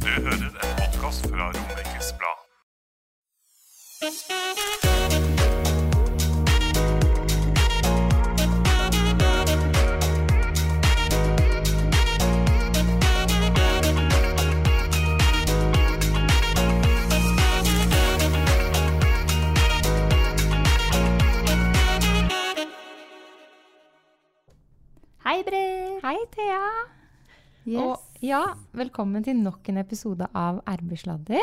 Du hører en podkast fra Romerikes Blad. Hei, Britt. Hei, Thea. Yes. Og ja, velkommen til nok en episode av Arbeidssladder.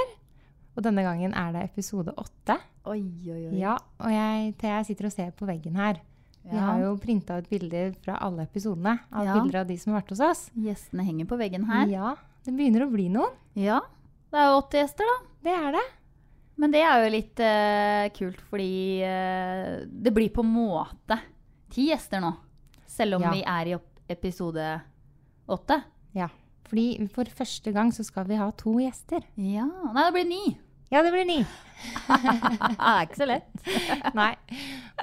Og denne gangen er det episode åtte. Oi, oi, oi. Ja, og jeg, Thea sitter og ser på veggen her. Vi Ja. har jo printa ut bilder fra alle episodene. Av Ja. bilder av de som har vært hos oss. Gjestene henger på veggen her. Ja. Ja, det begynner å bli noen. Det er jo 80 gjester, da. Det er det. Men det er jo litt eh, kult, fordi eh, det blir på en måte ti gjester nå. Selv om Ja. vi er i opp- episode åtte. Ja. Fordi for første gang så skal vi ha to gjester. Ja. Nei, det blir ni. Ja, det blir ni. Det er ikke så lett. Nei.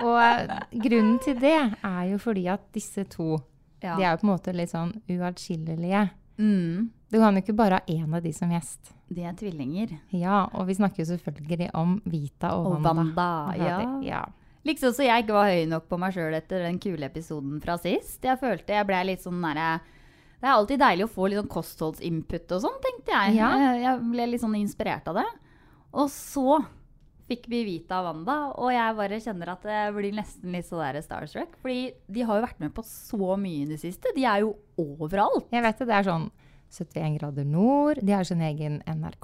Og eh, grunnen til det er jo fordi at disse to, Ja. de er jo på en måte litt sånn uatskillelige. Mm. Du kan jo ikke bare ha én av de som gjest. De er tvillinger. Ja, og vi snakker jo selvfølgelig om Vita og, Og Wanda. Wanda. Ja. ja. Liksom så jeg ikke var høy nok på meg sjøl etter den kule episoden fra sist. Jeg følte jeg ble litt sånn derre Det er alltid deilig å få litt sånn kostholdsinput og sånn, tenkte jeg. Ja. Jeg- Jeg ble litt sånn inspirert av det. Og så fikk vi vite av Wanda, og jeg bare kjenner at det blir nesten litt så der starstruck. Fordi de har jo vært med på så mye i det siste. De er jo overalt. Jeg vet det. Det er sånn 71 grader nord. De har sin egen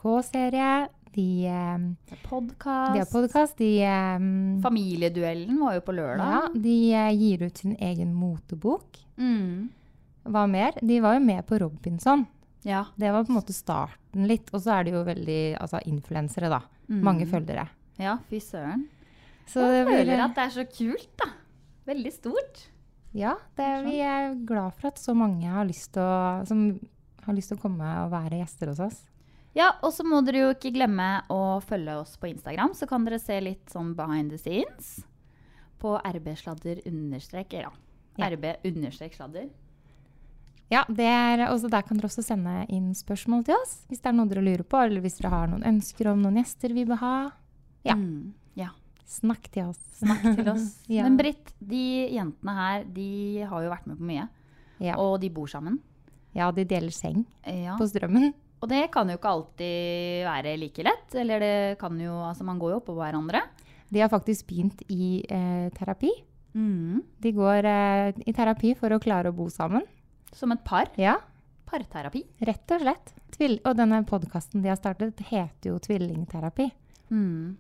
NRK-serie. De, eh, de har Podkast. podkast. De, eh, Familieduellen var jo på ja, lørdag. de eh, gir ut sin egen motebok. Mm. Hva mer? De var jo med på Robinson. ja. Det var på en måte starten litt. Og så er det jo veldig altså, influensere, da. Mange følgere. ja fy søren. Så Mm. Jeg det blir- eh, føler at det er så kult, da. Veldig stort. Ja, det er, vi er glad for at så mange har lyst til å, som har lyst til å komme og være gjester hos oss. Ja, og så må dere jo ikke glemme å følge oss på Instagram, så kan dere se litt sånn behind the scenes på rbsladder understrek, ja. Ja. rb understrek sladder. Ja, det er, også Der kan dere også sende inn spørsmål til oss hvis det er noe dere lurer på, eller hvis dere har noen ønsker om noen gjester vi bør ha. Ja. Mm, ja. Snakk til oss. Snakk til oss. Ja. Men Britt, de jentene her, de har jo vært med på mye, Ja. og de bor sammen. ja, de deler seng Ja. på strømmen. Og det kan jo ikke alltid være like lett, eller det kan jo, altså man går jo oppå hverandre. De har faktisk begynt i eh, terapi. Mm. De går eh, i terapi for å klare å bo sammen. Som et par. Ja, Parterapi. rett og slett. Tvil og denne podkasten de har startet, heter jo Tvillingterapi. Mm.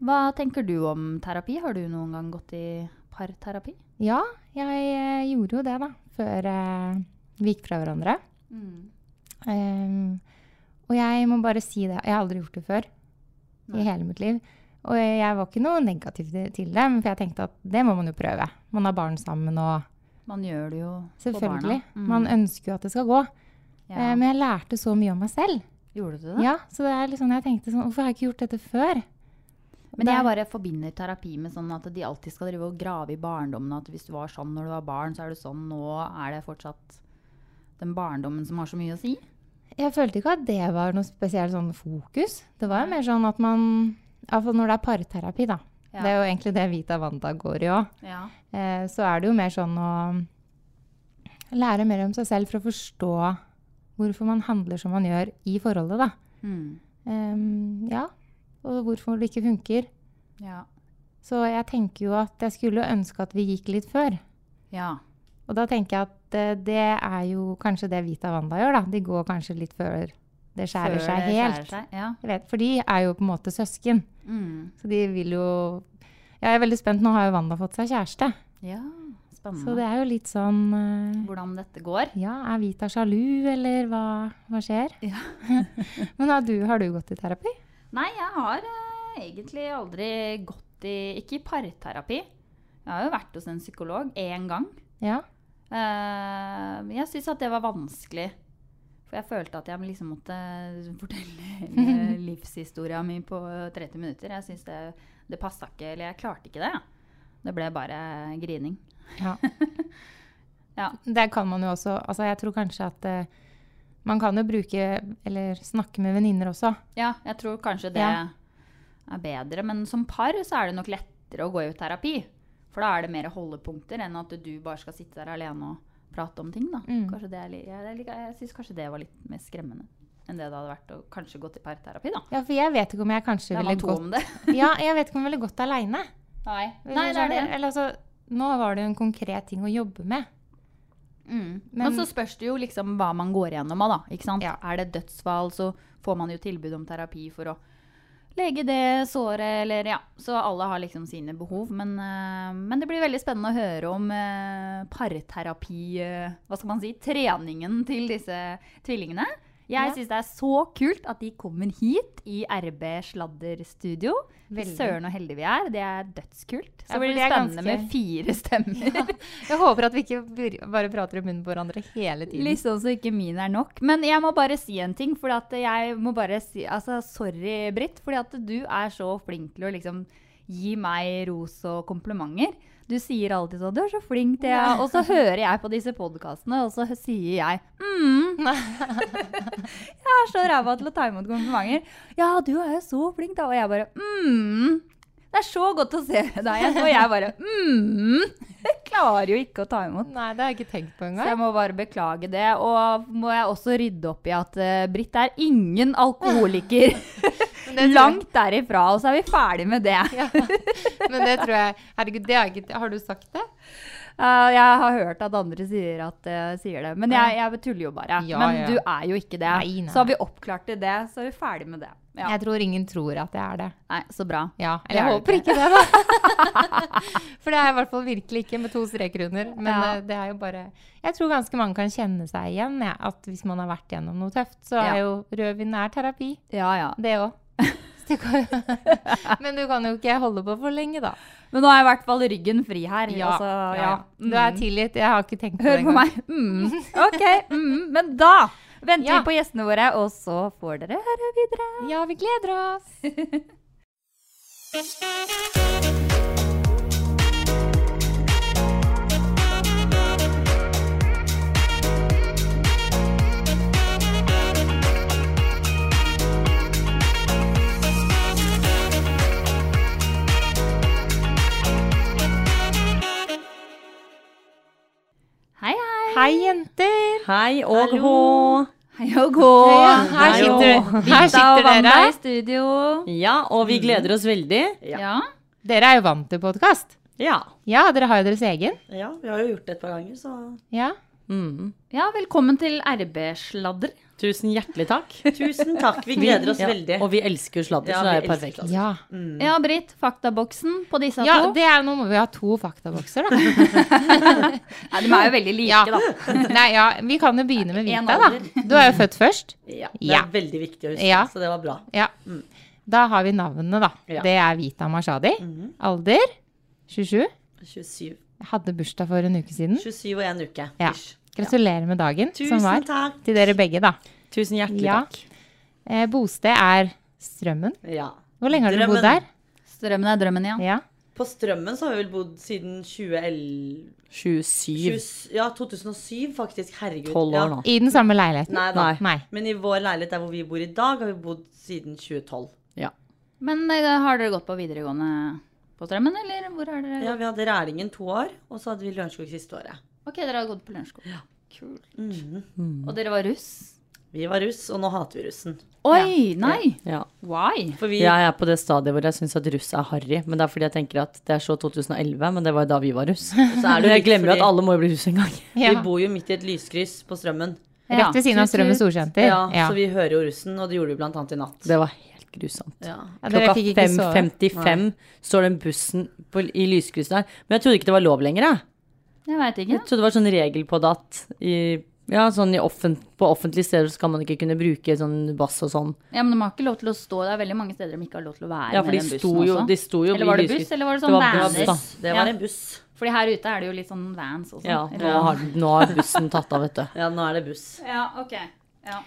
Hva tenker du om terapi? Har du noen gang gått i parterapi? Ja, jeg eh, gjorde jo det da, før eh, vi gikk fra hverandre. Mm. Ehm, og jeg må bare si det, jeg har aldri gjort det før i hele mitt liv. Og jeg var ikke noe negativ til- til det, men for jeg tenkte at det må man jo prøve. Man har barn sammen og Man gjør det jo for barna. selvfølgelig. Mm. Man ønsker jo at det skal gå. ja. Eh, men jeg lærte så mye om meg selv. Gjorde du det? Ja, så det er liksom, jeg tenkte sånn, hvorfor har jeg ikke gjort dette før? Men det- jeg bare forbinder terapi med sånn at de alltid skal drive og grave i barndommen. At hvis du var sånn når du var barn, så er du sånn. Nå er det fortsatt den barndommen som har så mye å si. Jeg følte ikke at det var noe spesielt sånn fokus. Det var jo mer sånn at man, iallfall når det er parterapi da, Ja. det er jo egentlig det Vita Wanda går i òg, Ja. eh, så er det jo mer sånn å lære mer om seg selv for å forstå hvorfor man handler som man gjør i forholdet, da. Mm. Em, ja, og hvorfor det ikke funker. ja. Så jeg tenker jo at jeg skulle jo ønske at vi gikk litt før. Ja. Og da tenker jeg at eh, det er jo kanskje det Vita Wanda gjør, da. De går kanskje litt før det skjærer Før seg det helt. skjærer seg, Ja. Jeg vet, for de er jo på en måte søsken. Mm. Så de vil jo Jeg er veldig spent. Nå har jo Wanda fått seg kjæreste. ja. Spennende. Så det er jo litt sånn eh, Hvordan dette går. Ja, er Vita sjalu, eller hva, hva skjer? Ja. Men har du, har du gått i terapi? Nei, jeg har eh, egentlig aldri gått i Ikke i parterapi. Jeg har jo vært hos en psykolog én gang. Ja. Eh, Men jeg syns at det var vanskelig. For jeg følte at jeg liksom måtte fortelle hele livshistoria mi på 30 minutter. Jeg synes det, det passa ikke, eller jeg klarte ikke det. ja. Det ble bare grining. Ja. Ja. Der kan man jo også Altså, jeg tror kanskje at eh, man kan jo bruke eller snakke med venninner også. Ja, jeg tror kanskje det Ja. er bedre. Men som par så er det nok lettere å gå i terapi. For da er det mer holdepunkter enn at du bare skal sitte der alene og prate om ting. Da. Mm. Kanskje det er, li- jeg, jeg, jeg syns kanskje det var litt mer skremmende enn det det hadde vært å kanskje gå til parterapi. Da. Ja, for jeg vet ikke om jeg kanskje Det er ville man to gått om det. Ja, jeg vet ikke om jeg ville gått aleine. Nei. Nei, det er det. Eller altså Nå var det jo en konkret ting å jobbe med. Mm. Men- Men så spørs det jo liksom hva man går gjennom av, da. Ikke sant? Ja. Er det dødsfall, så får man jo tilbud om terapi for å lege det såret, eller ja. Så alle har liksom sine behov. Men, eh, men det blir veldig spennende å høre om eh, parterapi eh, Hva skal man si? Treningen til disse tvillingene. Jeg Ja. syns det er så kult at de kommer hit i RB Sladderstudio. Fy Veldig. Søren og heldige vi er. Det er dødskult. Så Ja, for blir det det er spennende ganske- med fire stemmer. Jeg håper at vi ikke bur- bare prater i munnen på hverandre hele tiden. Litt sånn så ikke min er nok. Men jeg må bare si en ting. Fordi at jeg må bare si, altså Sorry, Britt. Fordi at du er så flink til å liksom gi meg ros og komplimenter. Du sier alltid sånn 'Du er så flink, Thea'. Og så hører jeg på disse podkastene, og så hø- sier jeg mm. Jeg er så ræva til å ta imot komplimenter. 'Ja, du er jo så flink', da. Og jeg bare mm. Det er så godt å se deg igjen. Og jeg bare mm. Jeg klarer jo ikke å ta imot. Nei, det har jeg ikke tenkt på Så jeg engang. må bare beklage det. Og må jeg også rydde opp i at eh, Britt er ingen alkoholiker. jeg. Langt derifra. Og så er vi ferdig med det. Ja. Men det tror jeg Herregud, det har, jeg ikke, har du sagt det? Eh, jeg har hørt at andre sier, at, eh, sier det. Men jeg, jeg tuller jo bare. Ja, Men ja. du er jo ikke det. Nei, nei. Så har vi oppklart det, så er vi ferdig med det. Ja. Jeg tror ingen tror at jeg er det. Nei, så bra. Ja, Det eller jeg er håper det ikke det, da. For det er jeg i hvert fall virkelig ikke med to streker under. Men Ja. eh, det er jo bare Jeg tror ganske mange kan kjenne seg igjen. Ja, at hvis man har vært gjennom noe tøft, så Ja. er jo rødvin er terapi. Ja, ja. Det òg. Men du kan jo ikke holde på for lenge, da. Men nå er i hvert fall ryggen fri her. altså, ja. Du er tilgitt. Jeg har ikke tenkt på det Hør på engang. meg. Mm. Ok, mm. men da venter Ja. vi på gjestene våre, og så får dere høre videre. Ja, vi gleder oss. Hei, hei. Hei, jenter. Hei og hå! Hei og gå. Her sitter, her sitter dere. i studio. Ja, og Mm. vi gleder oss veldig. Ja. Dere er jo vant til podkast. Ja. Ja, dere har jo deres egen. Ja, vi har jo gjort det et par ganger, så Ja. mm. Ja, velkommen til RB-sladder. Tusen hjertelig takk. Tusen takk, vi gleder oss Ja, veldig. Og vi elsker jo sladder, Ja, så det er vi jo perfekt. elsker ja. Ja, Britt, faktaboksen på disse ja to. det er, nå må vi ha to faktabokser, da. Ja, de er jo veldig like, Ja. da. Nei, ja, vi kan jo begynne med En Vita, da. Du er jo født først. Ja, det Ja. er veldig viktig å huske, Ja. så det var bra. Ja. Da har vi navnene, da. Mm. Ja. Mhm. Det er Vita Mashadi. Alder 27. 27, Jeg hadde bursdag for en uke siden. 27 og en uke. Ja. ish. Gratulerer med dagen som Tusen var. takk. Til dere begge, da. Tusen hjertelig Ja. takk. Eh, bosted er Strømmen. Ja. Hvor lenge har dere Drømmen. bodd der? Strømmen er drømmen, ja. Ja. På Strømmen så har vi vel bodd siden 2011 27. 20 Ja, 2007 faktisk. Herregud. 12 år Ja. nå. I den samme leiligheten? Nei da. Nei. Men i vår leilighet der hvor vi bor i dag, har vi bodd siden 2012. Men eh, har dere gått på videregående på Strømmen, eller hvor har dere Ja, gått? Vi hadde Rælingen to år, og så hadde vi Lørenskog siste året. Ok, dere har gått på lunsjskole. Kult. Mhm. Og dere var russ? Vi var russ, og nå hater vi russen. Oi, nei! Ja. Why? For vi Jeg er på det stadiet hvor jeg syns at russ er harry. Men det er fordi jeg tenker at det er så 2011, men det var jo da vi var russ. så er det jo Jeg litt glemmer jo fordi- at alle må jo bli russ en gang. Ja. Vi bor jo midt i et lyskryss på Strømmen. Ja, Rett ved siden av tut, Strømmen tut. storsenter. Ja, Så vi hører jo russen, og det gjorde vi blant annet i natt. Det var helt grusomt. Ja. Ja, dere Klokka fikk ikke sove. 5.55 står den bussen på, i lyskrysset der. Men jeg trodde ikke det var lov lenger, jeg. Jeg veit ikke. Jeg trodde det var sånn regel på det at i, ja, sånn i offent, på offentlige steder så skal man ikke kunne bruke sånn bass og sånn. Ja, men de har ikke lov til å stå. Det er veldig mange steder de ikke har lov til å være Ja, for med de den sto bussen jo, også. de sto jo Eller var det i buss, lyskryss. eller var det Det sånn var buss, vaner? da. Det var en buss. Fordi her ute er det jo litt sånn vans også. Ja, Eller- nå har, nå har bussen tatt av, vet du. Ja, nå er det buss. ja ok. Ja.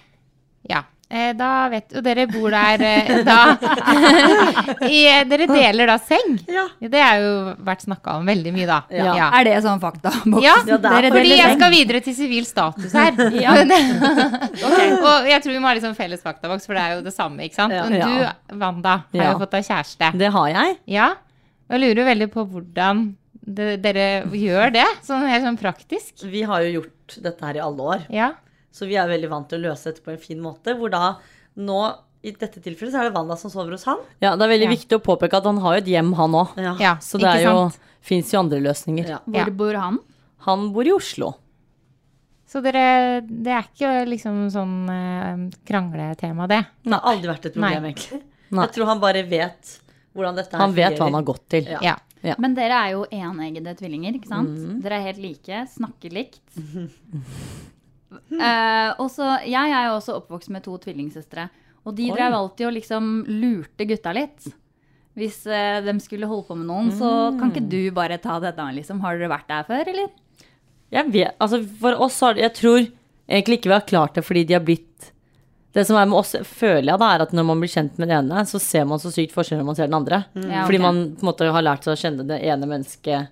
Ja. eh, Da vet jo dere bor der eh, da i, eh, Dere deler da seng. Ja. Det har jo vært snakka om veldig mye, da. Ja. Er det sånn fakta? Ja, fordi er veldig jeg skal videre til sivil status her. Men- Og jeg tror vi må ha litt sånn felles faktaboks, for det er jo det samme, ikke sant. Men Ja. du, Wanda, har Ja. jo fått deg kjæreste. Det har jeg. Ja. Og jeg lurer jo veldig på hvordan det- dere gjør det, sånn helt sånn praktisk. Vi har jo gjort dette her i alle år, Ja. så vi er veldig vant til å løse dette på en fin måte. Hvor da nå, i dette tilfellet, så er det Wanda som sover hos han. Ja, det er Ja. veldig viktig å påpeke at han har jo et hjem, han òg. ja Ah, Så det ikke er jo, sant? fins jo andre løsninger. Ja. Hvor Ja. bor han? Han bor i Oslo. Så dere, det er ikke liksom sånn eh, krangletema, det. Det har aldri vært et problem, Nei. egentlig. Nei. Jeg tror han bare vet hvordan dette her Han vet hva han har gått til. Ja. Ja. Men dere er jo eneggede tvillinger, ikke sant? Mhm. Dere er helt like, snakker likt. Eh, og så, jeg er jo også oppvokst med to tvillingsøstre, og de drev alltid og liksom lurte gutta litt. Hvis eh, de skulle holde på med noen, så kan Mm. ikke du bare ta dette an, liksom. Har dere vært der før, eller? Jeg vet, altså for oss har det Jeg tror egentlig ikke vi har klart det fordi de har blitt Det som er med oss, føler jeg da, er at når man blir kjent med den ene, så ser man så sykt forskjell når man ser den andre. Ja, Fordi ok. man på en måte har lært seg å kjenne det ene mennesket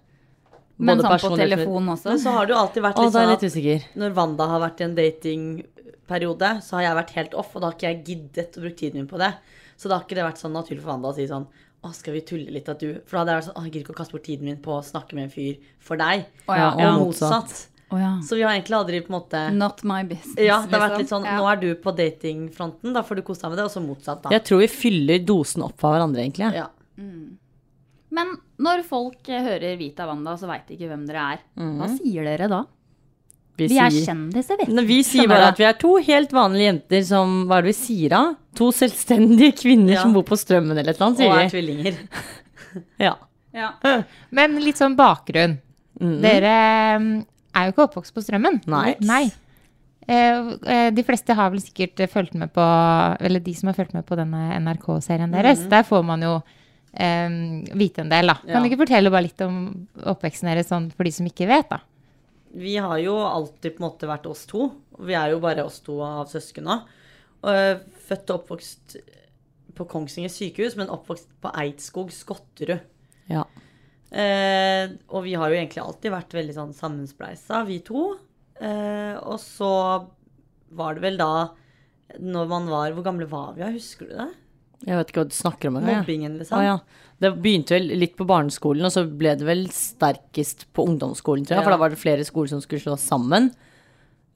Men sånn på personlig- telefon også. Men så har det jo alltid vært litt Å, da er sånn jeg at litt usikker. når Wanda har vært i en datingperiode, så har jeg vært helt off, og da har ikke jeg giddet å bruke tiden min på det. Så da har ikke det vært sånn naturlig for Wanda å si sånn Å, skal vi tulle litt at du For da hadde jeg vært sånn Å, jeg gidder ikke å kaste bort tiden min på å snakke med en fyr for deg. Å ja, Og ja. motsatt. Å ja. Så vi har egentlig aldri på en måte Not my business. Ja, det har vært litt liksom. sånn Ja. Nå er du på datingfronten, da får du kose deg med det, og så motsatt, da. Jeg tror vi fyller dosen opp av hverandre, egentlig. Ja. Men når folk eh, hører Vita Wanda, så veit de ikke hvem dere er. Hva sier dere da? Mhm. Vi, Vi er sier- kjendiser, vi. Nei, vi sier Skjønner bare du? at vi er to helt vanlige jenter som Hva er det vi sier da? To selvstendige kvinner Ja. som bor på Strømmen eller et eller Og er annet, sier tvillinger. vi. Ja. Ja. Men litt sånn bakgrunn. Dere mm, er jo ikke oppvokst på strømmen. Nei. Eh, eh, De fleste har vel sikkert eh, fulgt med på Eller de som har fulgt med på denne NRK-serien deres. Der får man jo eh, vite en del, da. Kan du ikke fortelle bare litt om oppveksten deres sånn for de som ikke vet, da? Vi har jo alltid på en måte vært oss to. Vi er jo bare oss to av søsken nå. Og, eh, Født og oppvokst på Kongsvinger sykehus, men oppvokst på Eidskog Skotterud. ja. Eh, og vi har jo egentlig alltid vært veldig sånn sammenspleisa, vi to. Eh, og så var det vel da når man var Hvor gamle var vi, da? husker du det? Jeg vet ikke hva du snakker om. engang, jeg. Mobbingen, liksom. Å, ja. Det begynte vel litt på barneskolen, og så ble det vel sterkest på ungdomsskolen, tror jeg. For Ja. da var det flere skoler som skulle slås sammen.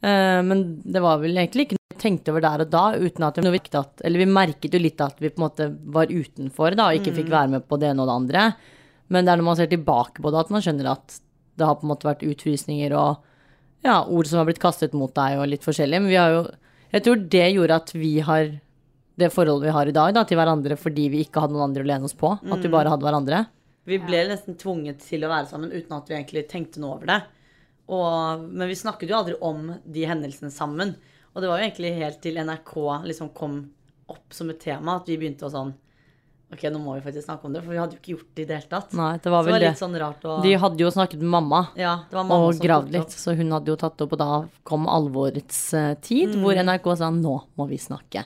Eh, men det var vel egentlig ikke noe vi tenkte over der og da, uten at vi noe viktig at Eller vi merket jo litt at vi på en måte var utenfor, da, og ikke fikk være med på det ene og det andre. Men det er når man ser tilbake på det, at man skjønner at det har på en måte vært utfrysninger og ja, ord som har blitt kastet mot deg, og litt forskjellig. Men vi har jo Jeg tror det gjorde at vi har det forholdet vi har i dag da, til hverandre fordi vi ikke hadde noen andre å lene oss på. At vi bare hadde hverandre. Vi ble nesten tvunget til å være sammen uten at vi egentlig tenkte noe over det. Og, men vi snakket jo aldri om de hendelsene sammen. Og det var jo egentlig helt til NRK liksom kom opp som et tema, at vi begynte å sånn Ok, nå må vi faktisk snakke om det, for vi hadde jo ikke gjort det i det hele tatt. Nei, det var så det vel var det. litt sånn rart å De hadde jo snakket med mamma Ja, det var mamma og som tok gravd det opp. litt, så hun hadde jo tatt det opp, og da kom alvorets eh, tid, hvor NRK sa nå må vi snakke.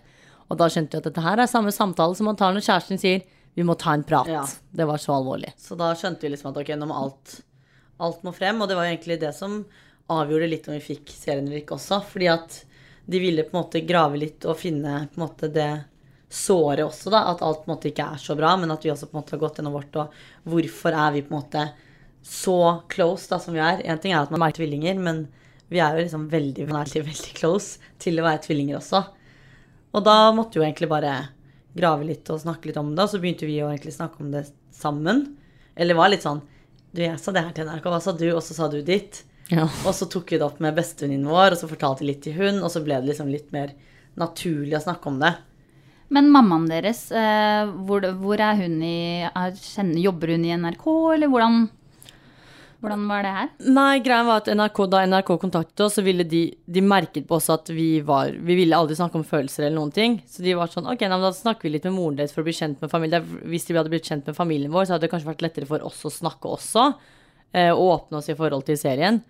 Og da skjønte vi at dette her er samme samtale som man tar når kjæresten sier vi må ta en prat. Ja. Det var så alvorlig. Så da skjønte vi liksom at ok, nå må alt, alt må frem. Og det var jo egentlig det som avgjorde litt om vi fikk serien eller ikke også. Fordi at de ville på en måte grave litt og finne på en måte det såret også, da. At alt på en måte ikke er så bra, men at vi også på en måte har gått gjennom vårt. Og hvorfor er vi på en måte så close da som vi er? En ting er at man er tvillinger, men vi er jo liksom veldig, veldig, veldig close til å være tvillinger også. Og da måtte vi jo egentlig bare grave litt og snakke litt om det, og så begynte vi å egentlig snakke om det sammen. Eller var litt sånn Du, jeg sa det her til NRK, hva sa du? Og så sa du ditt. Ja. Og så tok vi det opp med bestevenninnen vår, og så fortalte vi litt til hun, og så ble det liksom litt mer naturlig å snakke om det. Men mammaen deres, eh, hvor, hvor er hun i er, kjenner, Jobber hun i NRK, eller hvordan? Hvordan var det her? Nei, greia var at NRK, da NRK kontaktet oss, så ville de, de merket på oss at vi var Vi ville aldri snakke om følelser eller noen ting. Så de var sånn OK, nei, men da snakker vi litt med moren deres for å bli kjent med familien. Hvis de hadde blitt kjent med familien vår, så hadde det kanskje vært lettere for oss å snakke også. eh, Og åpne oss i forhold til serien.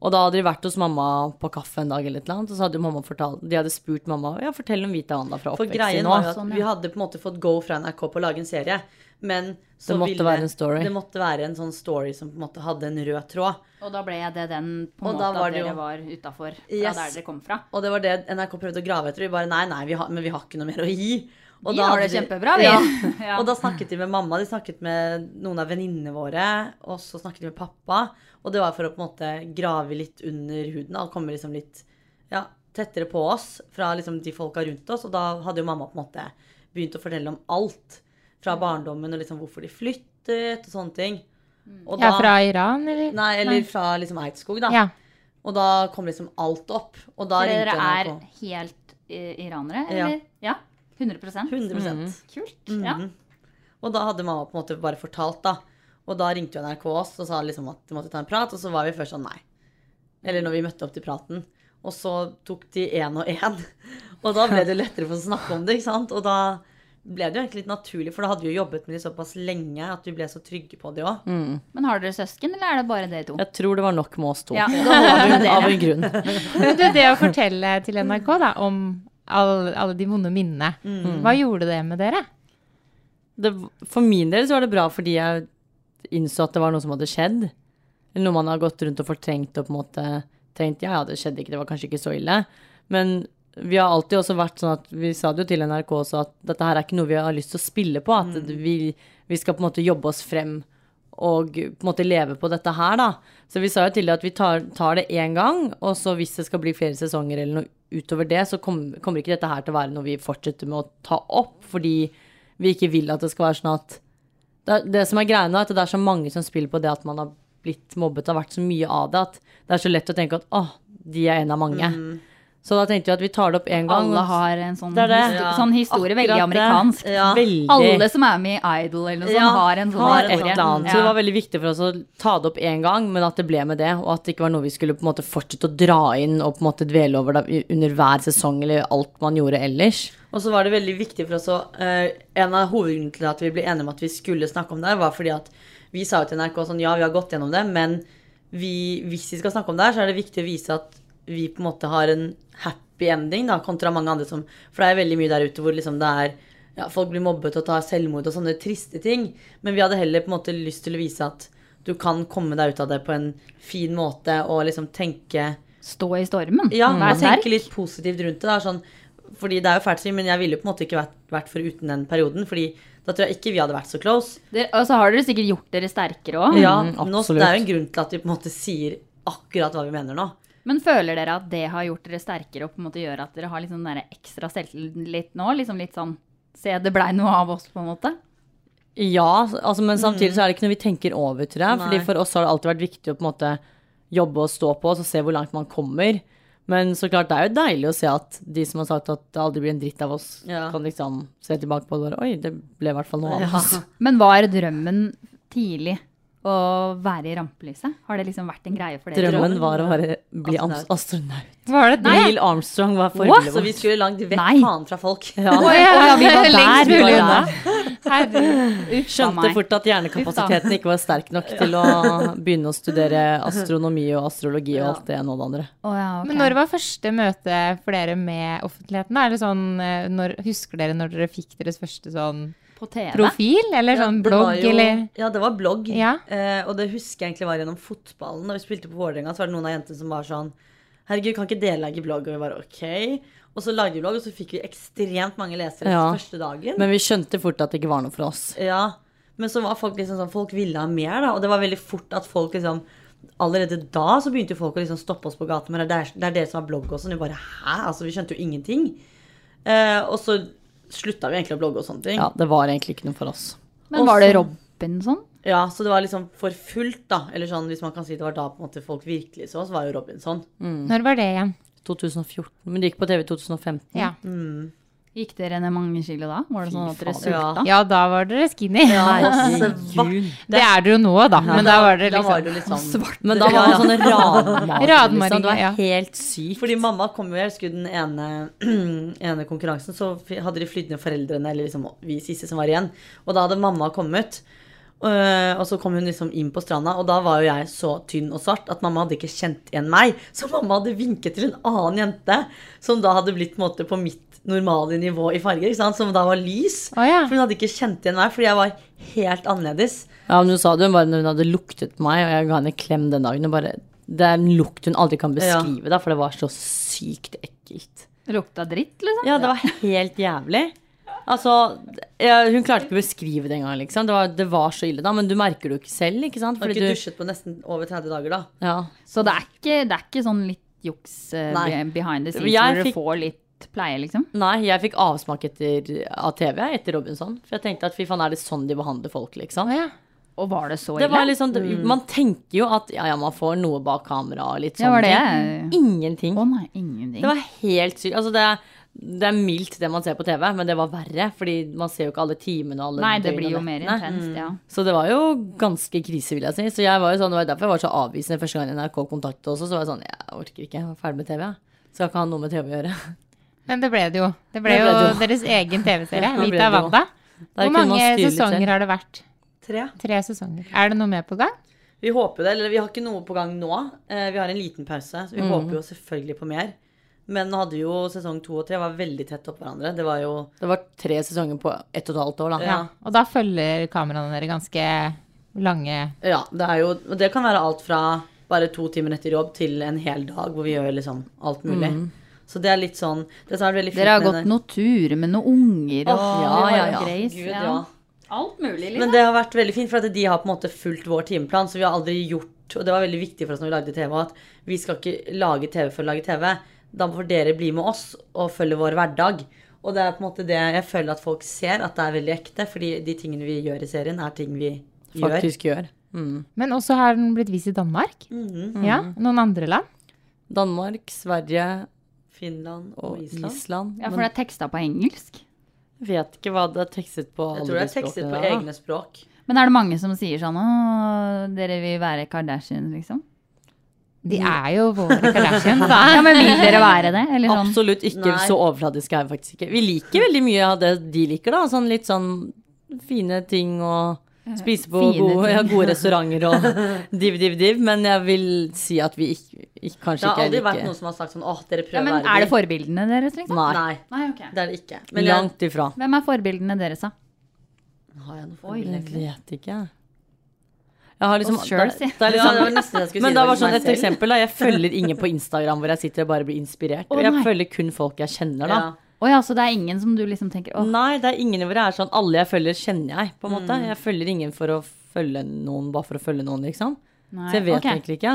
Og da hadde de vært hos mamma på kaffe en dag, eller et eller annet, og så hadde jo mamma fortalt, de hadde spurt mamma ja, fortell om Vita Wanda fra For oppveksten greien var jo nå. at vi hadde på en måte fått go fra NRK på å lage en serie. Men så Det måtte ville, være en story. det måtte være en sånn story som på en måte hadde en rød tråd. Og da ble det den på Og en da måte var at det jo- dere var utafor fra Yes. der dere kom fra. Og det var det NRK prøvde å grave etter. Og vi bare nei, nei, vi har, men vi har ikke noe mer å gi. Og Vi da har det hadde de- kjempebra, vi. Ja. Og da snakket de med mamma, de snakket med noen av venninnene våre, og så snakket de med pappa. Og det var for å på en måte grave litt under huden da, og komme liksom litt ja, tettere på oss fra liksom de folka rundt oss. Og da hadde jo mamma på en måte begynt å fortelle om alt fra Mm. barndommen og liksom hvorfor de flyttet og sånne ting. Mm. Og Ja, fra Iran, eller? Nei, eller fra liksom Eidskog, da. Ja. Og da kom liksom alt opp. Og da For dere ringte er NRK. helt eh, iranere, Ja. eller? Ja. 100 100 Kult. Mm. Ja. Mhm. Og da hadde mamma på en måte bare fortalt, da. Og da ringte jo NRK oss og sa liksom at de måtte ta en prat, og så var vi først sånn nei. Eller når vi møtte opp til praten. Og så tok de én og én. Og da ble det lettere for oss å snakke om det, ikke sant. Og da ble det jo egentlig litt naturlig, for da hadde vi jo jobbet med de såpass lenge at vi ble så trygge på de Mm. òg. Men har dere søsken, eller er det bare dere to? Jeg tror det var nok med oss to. Ja, da Av, var det en, dere. av en grunn. Men du, det å fortelle til NRK da, om all, alle de vonde minnene, hva gjorde det med dere? det, for min del så var det bra fordi jeg innså at det var noe som hadde skjedd. Eller noe man har gått rundt og fortrengt og på en måte tenkt ja, ja, det skjedde ikke, det var kanskje ikke så ille. Men vi har alltid også vært sånn at vi sa det jo til NRK også at dette her er ikke noe vi har lyst til å spille på. At vi, vi skal på en måte jobbe oss frem og på en måte leve på dette her, da. Så vi sa jo til det at vi tar, tar det én gang, og så hvis det skal bli flere sesonger eller noe utover det, så kom, kommer ikke dette her til å være noe vi fortsetter med å ta opp, fordi vi ikke vil at det skal være sånn at det, er- det som er greia nå, er at det er så mange som spiller på det at man har blitt mobbet og har vært så mye av det, at det er så lett å tenke at åh, de er en av mange. Så da tenkte vi at vi tar det opp én gang. Alle og- har en sånn, Det er det. histo- sånn historie, veldig Akkurat det. amerikansk. Ja. Veldig. Alle som er med i Idol eller noe sånt, Ja, har en sånn har et historie. eller annet. Så Ja. det var veldig viktig for oss å ta det opp én gang, men at det ble med det. Og at det ikke var noe vi skulle på en måte fortsette å dra inn og på en måte dvele over da, i- under hver sesong eller alt man gjorde ellers. Og så var det veldig viktig for oss å eh, En av hovedgrunnene til at vi ble enige om at vi skulle snakke om det, her, var fordi at vi sa jo til NRK sånn Ja, vi har gått gjennom det, men vi, hvis vi skal snakke om det her, så er det viktig å vise at vi på en måte har en happy ending, da, kontra mange andre som For det er veldig mye der ute hvor liksom det er ja, Folk blir mobbet og tar selvmord og sånne triste ting. Men vi hadde heller på en måte lyst til å vise at du kan komme deg ut av det på en fin måte og liksom tenke Stå i stormen. Mm. ja, Mm. Vær og sterk. tenke litt positivt rundt det. Da, sånn, fordi det er jo fælt å si, men jeg ville jo på en måte ikke vært, vært foruten den perioden. Fordi da tror jeg ikke vi hadde vært så close. Dere- Og så har dere sikkert gjort dere sterkere òg. Ja, Mm, nå, absolutt. det er jo en grunn til at vi på en måte sier akkurat hva vi mener nå. Men føler dere at det har gjort dere sterkere og på en måte gjør at dere har liksom den der ekstra selvtillit nå? Liksom litt sånn Se, det blei noe av oss, på en måte. Ja, altså, men samtidig så er det ikke noe vi tenker over, tror jeg. Fordi Mm. Nei. For oss har det alltid vært viktig å på en måte jobbe og stå på oss og se hvor langt man kommer. Men så klart, det er jo deilig å se at de som har sagt at det aldri blir en dritt av oss, Ja. kan liksom se tilbake på det og bare Oi, det ble i hvert fall noe av oss. Men var drømmen tidlig å være i rampelyset? Har det liksom vært en greie for dere? Drømmen var å være, bli Astronaut. ams- astronaut. Var det det? Neil Armstrong var What? forbildet Så vi vårt. skulle langt vekk Nei. faen fra folk. Ja. Å ja, å ja, vi var der. Lengst vi mulig var unna. der. Herregud. Uff, Skjønte meg. fort at hjernekapasiteten ikke var sterk nok til å begynne å studere astronomi og astrologi og alt det ene og det andre. Å ja, ok. Men når var første møte for dere med offentligheten? da? Er det sånn, eh, når, husker dere når dere fikk deres første sånn På TV? profil? Eller sånn det var blogg, jo- eller? Ja, det var blogg. Ja. Eh, og det husker jeg egentlig var gjennom fotballen. Da vi spilte på Vålerenga, så var det noen av jentene som var sånn Herregud, kan ikke dere lage blogg? Og vi bare OK. Og så lagde vi blogg, og så fikk vi ekstremt mange lesere Ja. første dagen. Men vi skjønte fort at det ikke var noe for oss. Ja, men så var folk liksom sånn Folk ville ha mer, da. Og det var veldig fort at folk liksom Allerede da så begynte jo folk å liksom stoppe oss på gaten. Men det er, det er dere som har blogg og sånn. Vi bare hæ? Altså, vi skjønte jo ingenting. Eh, og så slutta vi egentlig å blogge og sånne ting. Ja, Ja. det var egentlig ikke noe for oss. Men var det sånn? Robinson? Så det var liksom for fullt, da. Eller sånn, hvis man kan si det var da på en måte folk virkelig så oss, var jo Robinson. Når var det igjen? 2014, men det gikk på TV i 2015. Ja. Gikk dere ned mange kilo da? Var det sånn at dere faen, ja. sulta? Ja, da var dere skinny. altså, Herregud. Det er dere jo nå, da. Men da var dere Da var liksom det jo litt sånn Men da var det sånne radmager. Radmager, liksom. Det var ja. helt sykt. Fordi mamma kom jo, jeg husker den ene, ene konkurransen, så f- hadde de flydd ned foreldrene, eller liksom vi siste som var igjen. Og da hadde mamma kommet, øh, og så kom hun liksom inn på stranda, og da var jo jeg så tynn og svart at mamma hadde ikke kjent igjen meg. Så mamma hadde vinket til en annen jente, som da hadde blitt på, en måte, på mitt normale nivå i farger, ikke sant? som da var lys. Å ja. For hun hadde ikke kjent igjen meg, fordi jeg var helt annerledes. Ja, men hun sa det hun bare når hun hadde luktet på meg, og jeg ga henne en klem den dagen. Og bare, det er en lukt hun aldri kan beskrive, da, for det var så sykt ekkelt. Lukta dritt, liksom? Ja, det var helt jævlig. Altså, ja, Hun klarte ikke å beskrive det engang. Liksom. Det, var- det var så ille, da. Men du merker det jo ikke selv. ikke sant? Hun har Fordi ikke du, dusjet på nesten over 30 dager da. ja. Så det er ikke, det er ikke sånn litt juks eh, Nei. be- behind the scenes Jeg hvor fikk- du får litt pleie, liksom? Nei, jeg fikk avsmak etter, av TV jeg, etter Robinson. For jeg tenkte at fy faen, er det sånn de behandler folk, liksom? Å ja. Og var det så Det ille? var liksom, Man tenker jo at ja, ja, man får noe bak kamera og litt Mm. Ja, sånne var det ting. Ingenting. Å nei, ingenting. liksom- Det var helt sykt. Altså, det, er- det er mildt det man ser på TV, men det var verre. Fordi man ser jo ikke alle timene og alle nei, det døgnene blir jo og mer nettene. Mm. intenst, ja. Så det var jo ganske krise, vil jeg si. Så jeg var jo sånn, det var derfor jeg var så avvisende første gang NRK kontaktet også. Så var jeg sånn, jeg orker ikke, jeg er ferdig med TV. jeg. Skal ikke ha noe med TV å gjøre. Men det ble det jo. Det ble Det jo ble det jo. deres egen TV-serie. ble Vita det jo. Wanda. Der Hvor kunne man mange styre litt selv. sesonger har det vært? Tre. Tre sesonger. Er det noe mer på gang? Vi håper det, eller vi har ikke noe på gang nå. Eh, Vi har en liten pause, så vi Mm. håper jo selvfølgelig på mer. Men nå hadde jo sesong to og tre var veldig tett opp hverandre. Det var jo Det var tre sesonger på ett og et halvt år, da. Ja. Og da følger kameraene dere ganske lange Ja, det er jo Og det kan være alt fra bare to timer etter jobb til en hel dag hvor vi gjør liksom alt mulig. Så det er litt sånn Det som er veldig fint Mm. Dere har med gått det- noen turer med noen unger og Åh, ja, det var ja, jo ja. Grace, Gud, ja. ja. Alt mulig, liksom. Men det har vært veldig fint, for at de har på en måte fulgt vår timeplan. Så vi har aldri gjort Og det var veldig viktig for oss når vi lagde TV, at vi skal ikke lage TV for å lage TV. Da får dere bli med oss og følge vår hverdag. Og det er på en måte det jeg føler at folk ser, at det er veldig ekte. Fordi de tingene vi gjør i serien, er ting vi gjør. Faktisk gjør. Men også har den blitt vist i Danmark. Ja, Noen andre land. Danmark, Sverige Finland og og Island. Island. Ja, for Men det er teksta på engelsk. jeg vet ikke hva det er tekstet på Jeg alle tror det de er tekstet språkene på der, da. egne språk. Men er det mange som sier sånn Å, dere vil være Kardashian, liksom? De Mm. er jo våre Kardashians, da. Ja, men vil dere være det? Eller sånn Absolutt ikke Nei. så overfladisk er vi faktisk ikke. Vi liker veldig mye av det de liker, da. Sånn litt sånn fine ting og spise på fine gode, ting. ja, gode restauranter og div, div, div. Men jeg vil si at vi ikke, ikke, Det kanskje har ikke aldri er vært like noen som har sagt sånn åh, dere prøver ja, men å være Er det forbildene deres, liksom? Nei. Nei, Nei, ok. det er det ikke. Men jeg, Langt ifra. Hvem er forbildene deres, da? har jeg noe Oi, forbilde? Jeg vet ikke. Jeg har liksom Oss selv, det, si. det er Ja, det var liksom nesten det jeg skulle si. men det var sånn meg et selv. eksempel da, Jeg følger ingen på Instagram hvor jeg sitter og bare blir inspirert. jeg nei. følger kun folk jeg kjenner, da. Ja. Å ja, så det er ingen som du liksom tenker Å, Nei, det er ingen hvor jeg er sånn Alle jeg følger, kjenner jeg, på en måte. Mm. Jeg følger ingen for å følge noen bare for å følge noen, liksom. nei. Så jeg vet ok. egentlig ikke.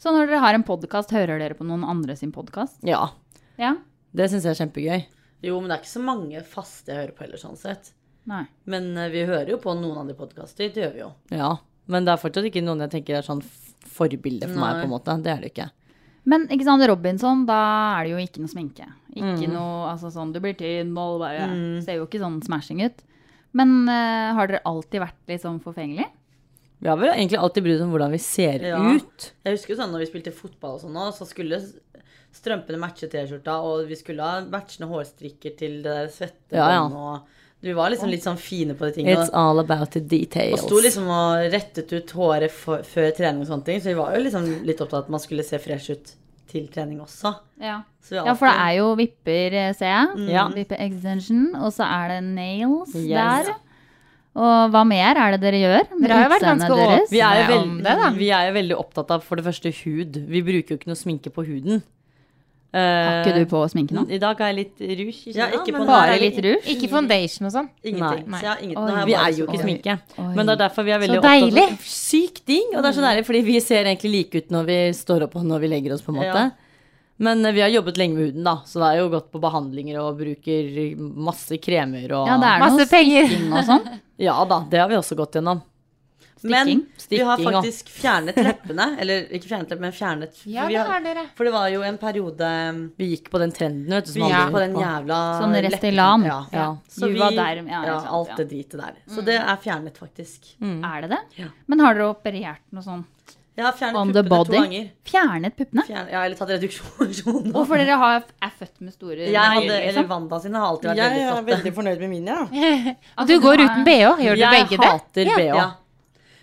Så når dere har en podkast, hører dere på noen andre sin podkast? Ja. Ja? Det syns jeg er kjempegøy. Jo, men det er ikke så mange faste jeg hører på heller, sånn sett. Nei. Men eh, vi hører jo på noen andre podkaster. Det gjør vi jo. Ja. Men det er fortsatt ikke noen jeg tenker er sånn f- forbilde for meg, på en måte. Det er det ikke. Men ikke sant, Robinson, da er det jo ikke noe sminke. Ikke Mm. noe altså sånn Du blir tynn og bare Ser jo ikke sånn smashing ut. Men eh, har dere alltid vært litt sånn forfengelig? Vi har vel egentlig alltid brydd oss om hvordan vi ser Ja. ut. Jeg husker jo sånn når vi spilte fotball og sånn nå, så skulle s- strømpene matche T-skjorta, og vi skulle ha matchende hårstrikker til det der Ja, ja. svettebåndet og Vi var liksom litt sånn fine på de tingene. It's og- all about the Og details. sto liksom og rettet ut håret for, før trening og sånne ting, så vi var jo liksom litt opptatt av at man skulle se fresh ut til trening også. Ja. Så vi Ja, for det er jo vipper, eh, ser jeg. Mm. Ja. Vipper extension, og så er det nails Yes. der. Og hva mer er det dere gjør? med Dere har jo vært utseendet ganske deres? vi er, jo Nei, veldig, om det, da. vi er jo veldig opptatt av for det første hud. Vi bruker jo ikke noe sminke på huden. Har ikke du på sminke nå? I dag har jeg litt rouge. Ja, ikke på sånn, men- Bare Bare litt rouge? Ikke foundation og sånn. Ingenting. Nei. Så jeg har ingenting. Oi. Nå har jeg Vi bare er jo ikke sånn- sminke. Oi. Men det er derfor vi er Så veldig opptatt deilig. av Sykt digg! Og det er så deilig, fordi vi ser egentlig like ut når vi står opp og når vi legger oss, på en måte. Ja. Men eh, vi har jobbet lenge med huden, da, så det er jo gått på behandlinger og bruker masse kremer og Ja, det er Masse noe penger. stikking og sånn. Ja da, det har vi også gått gjennom. Men vi har Stikking, ja. faktisk fjernet leppene. Eller ikke fjernet leppene, men fjernet for Ja, vi det har- har dere. For det var jo en periode Vi gikk på den trenden, vet du. Vi Som gikk andre på gikk den jævla Sånn leppen- Restylane. Ja. Ja. Så vi, Juva Derm, ja, ikke ja, sant, ja. Mm. alt det dritet der. Så det er fjernet, faktisk. Er det det? Ja. Men har dere operert noe sånn? Jeg har fjernet On the puppene body? to ganger. Fjernet puppene? Fjern, ja, eller tatt reduksjon. Og for dere har, er født med store liksom? Jeg hadde, mager, eller Wanda sine har alltid vært veldig flotte. fornøyd med mine, ja. At Du går har- uten bh, gjør du Jeg begge det? hater bh. Ja.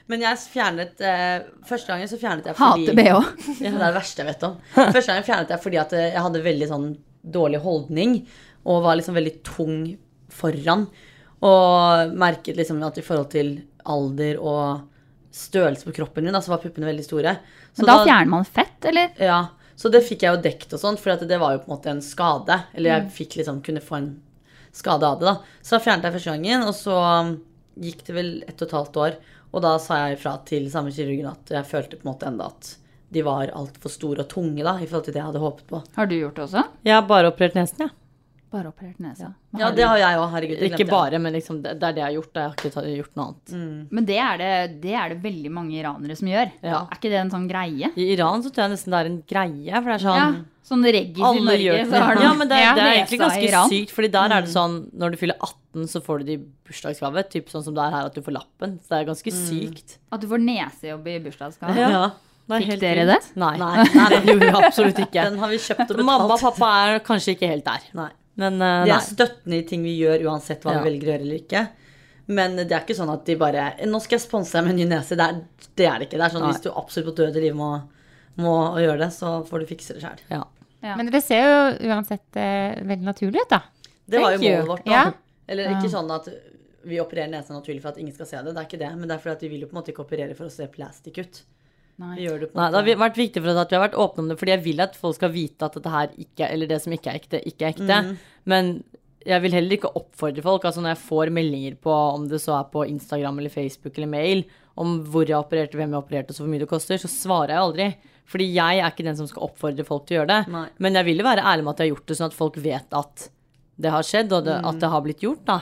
Men jeg fjernet eh, Første gangen så fjernet jeg fordi Hater bh. Ja, det er det verste jeg vet om. Første gangen fjernet jeg fordi at eh, jeg hadde veldig sånn dårlig holdning. Og var liksom veldig tung foran. Og merket liksom at i forhold til alder og størrelse på kroppen min, da, så var puppene veldig store. Så Men da fjerner man fett, eller? Ja, så det fikk jeg jo dekt og sånn, for at det var jo på en måte en skade. Eller Mm. jeg fikk liksom, kunne få en skade av det, da. Så da fjernet jeg første gangen, og så um, gikk det vel ett og et halvt år. Og da sa jeg ifra til samme kirurgen at jeg følte på en måte enda at de var altfor store og tunge da, i forhold til det jeg hadde håpet på. Har du gjort det også? Jeg har bare operert nesen, jeg. Bare operert nesa. Men Ja, har det har jeg òg, herregud. det glemte Ikke jeg. Mm. bare, men liksom, det, det er det jeg har gjort. da. Jeg har ikke ta- gjort noe annet. du- Men det er det, det er det veldig mange iranere som gjør. Ja. Er ikke det en sånn greie? I Iran så tror jeg nesten det er en greie, for det er sånn Ja, sånn reggis i Alle gjør Norge, det. så har de Ja, men det, er- det er nesa egentlig i ganske Iran. sykt, Fordi der er det sånn når du fyller 18, så får du det i bursdagsgave. Typ sånn som det er her, at du får lappen. Så det er ganske sykt. At du får nesejobb i bursdagsgave. Det er Fikk helt dere vilt. det? Nei. Nei, nei, Det gjorde jeg absolutt ikke. Den har vi kjøpt og Mamma og betalt. pappa er kanskje ikke helt der. Nei. Men eh, De nei. er støttende i ting vi gjør, uansett hva Ja. vi velger å gjøre eller ikke. Men det er ikke sånn at de bare 'Nå skal jeg sponse deg med en ny nese.' Det er det, er det ikke. Det er sånn Nei. Hvis du absolutt på døde liv må, må gjøre det, så får du fikse det sjøl. Ja. Men dere ser jo uansett eh, veldig naturlig ut, da. Det var jo Thank you. målet vårt. Da. Ja. Eller ikke sånn at vi opererer nesa naturlig for at ingen skal se det. Det er ikke det. Men det er fordi at vi vil jo på en måte ikke operere for å se plastic ut. Nei. Vi gjør det på Nei, en Det måte. har vært viktig for oss at vi har vært åpne om det, fordi jeg vil at folk skal vite at dette her ikke, eller det som ikke er ekte, ikke er ekte. Men jeg vil heller ikke oppfordre folk. altså Når jeg får meldinger på om det så er på Instagram eller Facebook eller mail, om hvor jeg opererte, hvem jeg opererte, og så hvor mye det koster, så svarer jeg aldri. Fordi jeg er ikke den som skal oppfordre folk til å gjøre det. Nei. Men jeg vil jo være ærlig med at jeg har gjort det, sånn at folk vet at det har skjedd, og det, at det har blitt gjort. da.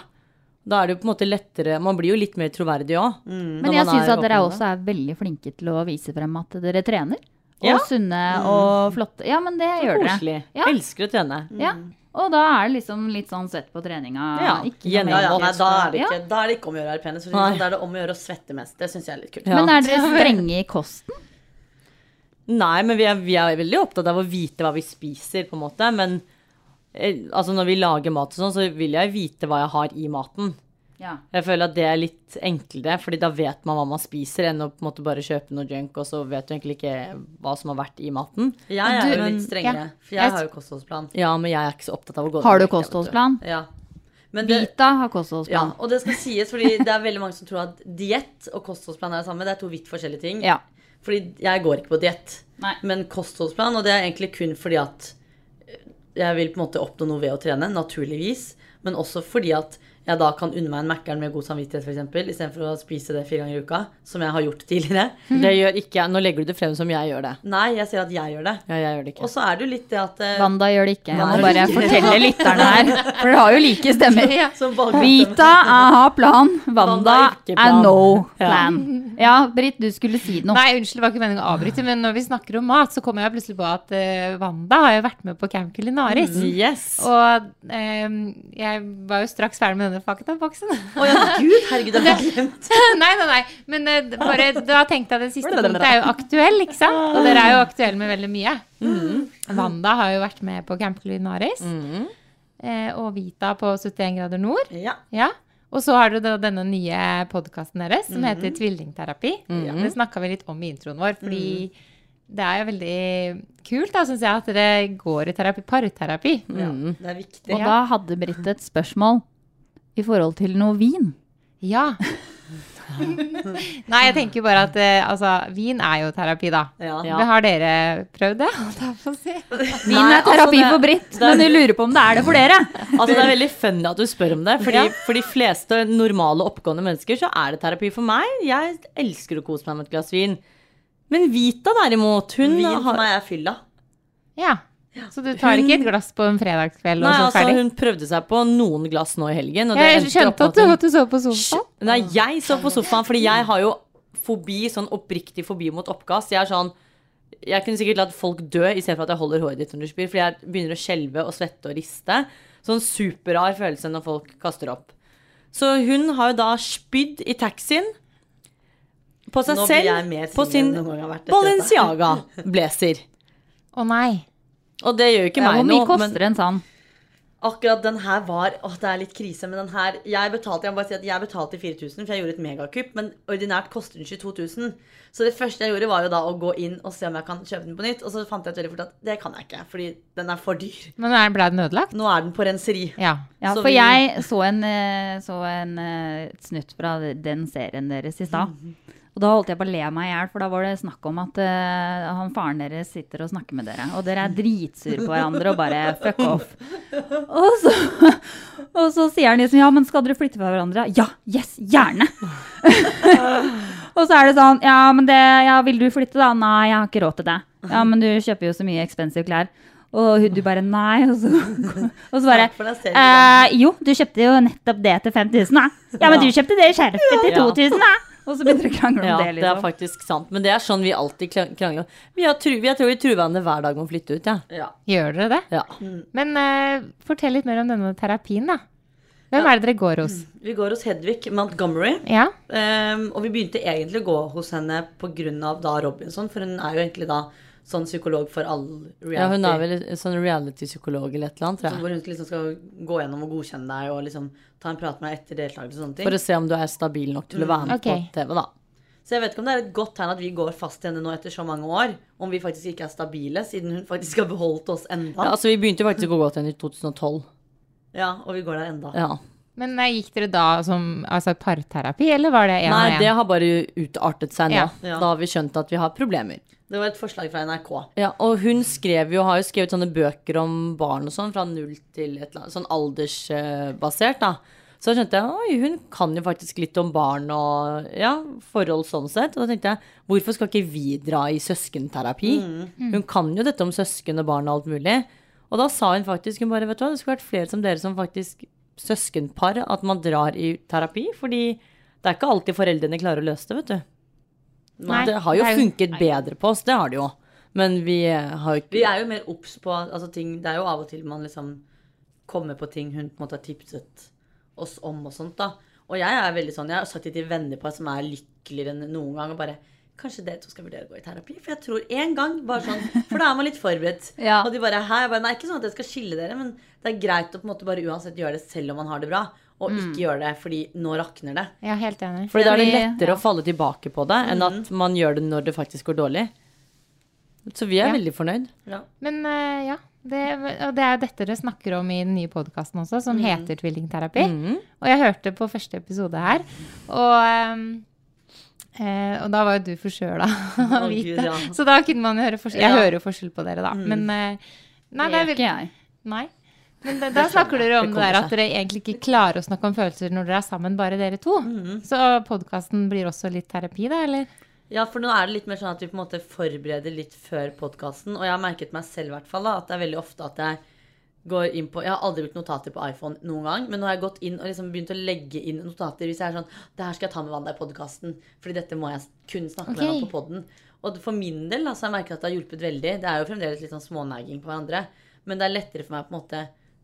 Da er det jo på en måte lettere Man blir jo litt mer troverdig òg. Men jeg syns at dere også er veldig flinke til å vise frem at dere trener. Og Ja. sunne og flotte. Ja, men det gjør dere. Koselig. Ja. Elsker å trene. Ja. Og da er det liksom litt sånn svett på treninga. Ja, Ikke noe gjennom- mer- ja, ja, nei, da er det Ja. ikke, da er det ikke om å gjøre å være pen. Så Nei. Da er det om å gjøre å svette mest. Det syns jeg er litt kult. Ja. Men er dere strenge i kosten? Nei, men vi er, vi er veldig opptatt av å vite hva vi spiser, på en måte. Men eh, altså, når vi lager mat og sånn, så vil jeg vite hva jeg har i maten. Ja. Jeg føler at det er litt enklere, fordi da vet man hva man spiser, enn å på en måte bare kjøpe noe junk, og så vet du egentlig ikke hva som har vært i maten. Jeg er Du- jo men- litt strengere, ja. for jeg har jo kostholdsplan. Ja, men jeg er ikke så opptatt av å gå Har du ned i vekt, jeg, vet kostholdsplan? Ja. Men det, Vita har Ja, kostholdsplan. og det skal sies, fordi det er veldig mange som tror at diett og kostholdsplan er det samme. Det er to vidt forskjellige ting. Ja. Fordi jeg går ikke på diett, Nei. men kostholdsplan, og det er egentlig kun fordi at eh, jeg vil på en måte oppnå noe ved å trene, naturligvis. Men også fordi at jeg da kan unne meg en Mækkern med god samvittighet, f.eks. Istedenfor å spise det fire ganger i uka, som jeg har gjort tidligere. Mm. Hm. du. Det gjør ikke jeg. Nå legger du det frem som jeg gjør det. Nei, jeg sier at jeg gjør det. Ja, jeg gjør det ikke. Og så er det jo litt det at eh, Wanda gjør det ikke. Jeg må Nei. bare fortelle lytterne her, for dere har jo like stemmer. som valgte- Vita er- eh, har plan, Wanda Wanda ikke er plan. no plan. Ja, Britt, du skulle si noe. Nei, unnskyld, det var ikke meningen å avbryte, men når vi snakker om mat, så kommer jeg plutselig på at eh, Wanda har jo vært med på Camp Culinaris. Mm. Yes! Og eh, jeg var jo straks ferdig med denne faktaboksen. Å ja, gud, herregud, jeg har glemt. nei, nei, nei. Men eh, bare, da tenkte jeg det siste punktet er jo aktuell, ikke sant? Og dere er jo aktuelle med veldig mye. Mm-hmm. Wanda har jo vært med på Camp Culinaris. eh, og Vita på 71 grader nord. Ja. Ja. Og så har dere da denne nye podkasten deres som heter Tvillingterapi. Det snakka vi litt om i introen vår, fordi det er jo veldig kult da, synes jeg, at dere går i terapi, parterapi. ja. Det Mm. er viktig. Og da hadde Britt et spørsmål i forhold til noe vin. Ja. Nei, jeg tenker jo bare at eh, altså, vin er jo terapi, da. Ja. Ja. Har dere prøvd det? holdt jeg på å si? Vin er terapi for Britt, men hun lurer på om det er det for dere. Altså, det er veldig funny at du spør om det. Fordi, For de fleste normale, oppegående mennesker så er det terapi for meg. Jeg elsker å kose meg med et glass vin. Men Vita derimot, hun Vin for har meg er fylla. Ja. Så du tar ikke et glass på en fredagskveld Nei, og så altså, sånn ferdig? hun prøvde seg på noen glass nå i helgen. Og det Jeg endte opp skjønte med at du, hun- at du så på sofaen. Hysj. Nei, jeg så på sofaen, fordi jeg har jo fobi, sånn oppriktig fobi mot oppkast. Jeg er sånn Jeg kunne sikkert latt folk dø istedenfor at jeg holder håret ditt når du spyr, fordi jeg begynner å skjelve og svette og riste. Sånn superrar følelse når folk kaster opp. Så hun har jo da spydd i taxien. På seg Nå blir jeg selv, mer på singel sin enn noen gang jeg har vært etter dette. Balenciaga-blazer. Å nei. Og det gjør jo ikke Ja, meg hvor noe. mye koster en sånn? Akkurat den her var Åh, det er litt krise, men den her Jeg betalte jeg må bare si at jeg betalte 4000, for jeg gjorde et megakupp, men ordinært koster den 22 000. Så det første jeg gjorde, var jo da å gå inn og se om jeg kan kjøpe den på nytt. Og så fant jeg ut veldig fort at det kan jeg ikke, fordi den er for dyr. Men er- ble den ødelagt? Nå er den på renseri. Ja. Ja, Så for vi- jeg så en, eh, så en eh, et snutt fra den serien deres i stad. Og da holdt jeg på å le meg i hjel, for da var det snakk om at eh, han faren deres sitter og snakker med dere. Og dere er dritsure på hverandre og bare fuck off. Og så, og så sier han liksom ja, men skal dere flytte fra hverandre? Ja, yes, gjerne! og så er det sånn ja, men det, ja, vil du flytte da? Nei, jeg har ikke råd til det. Ja, men du kjøper jo så mye expensive klær. Og hun- du bare nei, og så, og så bare Takk for den serien. Eh, jo, du kjøpte jo nettopp det til 5000, da. Ja, men du kjøpte det skjerfet til Ja. 2000, da. Og så begynte du å krangle om Ja, det, det er liksom. faktisk sant. Men det er sånn vi alltid kla- krangler. Vi har tru, jeg tror vi truer hverandre hver dag med å flytte ut, ja. Ja. Gjør dere det? Ja. Mm. Men eh, fortell litt mer om denne terapien, da. Hvem er det dere går hos? Mm. Vi går hos Hedvig Montgomery. Ja? Ehm, og vi begynte egentlig å gå hos henne pga. Robinson, for hun er jo egentlig da sånn psykolog for all reality. ja hun er vel en sånn reality-psykolog eller et eller annet, Så tror jeg. hvor hun liksom skal gå gjennom og godkjenne deg og liksom ta en prat med deg etter deltakelse og sånne ting. For å se om du er stabil nok til å være med Ok. på TV, da. Så jeg vet ikke om det er et godt tegn at vi går fast til henne nå etter så mange år. Om vi faktisk ikke er stabile, siden hun faktisk har beholdt oss Ja, enda. altså, vi begynte jo faktisk å gå til henne i 2012. Ja, og vi går der enda. Ja. Men eh, gikk dere da som altså, parterapi, eller var det én og Nei, én? det har bare utartet seg nå. Ja. Ja. Da har vi skjønt at vi har problemer. Det var et forslag fra NRK. Ja, og hun skrev jo, har jo skrevet sånne bøker om barn og sånn, fra null til et eller annet, sånn aldersbasert, da. Så da skjønte jeg oi, hun kan jo faktisk litt om barn og ja, forhold sånn sett. Og da tenkte jeg hvorfor skal ikke vi dra i søskenterapi? Mm. Hun kan jo dette om søsken og barn og alt mulig. Og da sa hun faktisk hun bare, vet du hva, det skulle vært flere som dere som faktisk søskenpar, at man drar i terapi. Fordi det er ikke alltid foreldrene klarer å løse det, vet du. Nei, det har jo det er jo- funket bedre på oss, det har det jo. Men vi eh, har jo ikke Vi er jo mer obs på altså, ting Det er jo av og til man liksom kommer på ting hun på en måte har tipset oss om og sånt, da. Og jeg er veldig sånn Jeg har sagt det til venner på som er lykkeligere enn noen gang, og bare Kanskje dere to skal vurdere å gå i terapi? For jeg tror en gang, bare sånn For da er man litt forberedt. Ja. Og de bare Hei. Jeg bare Nei, ikke sånn at jeg skal skille dere, men det er greit å på en måte bare uansett gjøre det selv om man har det bra, og ikke gjøre det fordi nå rakner det. Ja, helt enig. Fordi da er det Fordi- lettere å falle tilbake på det enn at man gjør det når det faktisk går dårlig. Så vi er veldig fornøyd. Men eh, ja. Det, og det er jo dette dere snakker om i den nye podkasten også, som Mhm. heter Tvillingterapi. Og jeg hørte på første episode her, og eh, eh, og da var jo du forkjøla. og Gud, hvit, da. ja. Så da kunne man høre forskjell. Jeg Ja. Mm. hører jo forskjell på dere, da. Men eh, nei, Det det gjør er ikke jeg. Nei. Men da, da snakker dere om det, der at dere egentlig ikke klarer å snakke om følelser når dere er sammen, bare dere to. Så podkasten blir også litt terapi, da, eller? Ja, for nå er Mm. det litt mer sånn at vi på en måte forbereder litt før podkasten. Og jeg har merket meg selv i hvert fall da, at det er veldig ofte at jeg går inn på Jeg har aldri brukt notater på iPhone noen gang, men nå har jeg gått inn og liksom begynt å legge inn notater hvis jeg er sånn Det her skal jeg ta med Wanda i podkasten, fordi dette må jeg kun snakke med Ok. henne på podden. Og for min del altså, jeg merker at det har hjulpet veldig. Det er jo fremdeles litt sånn smånagging på hverandre, men det er lettere for meg å på en måte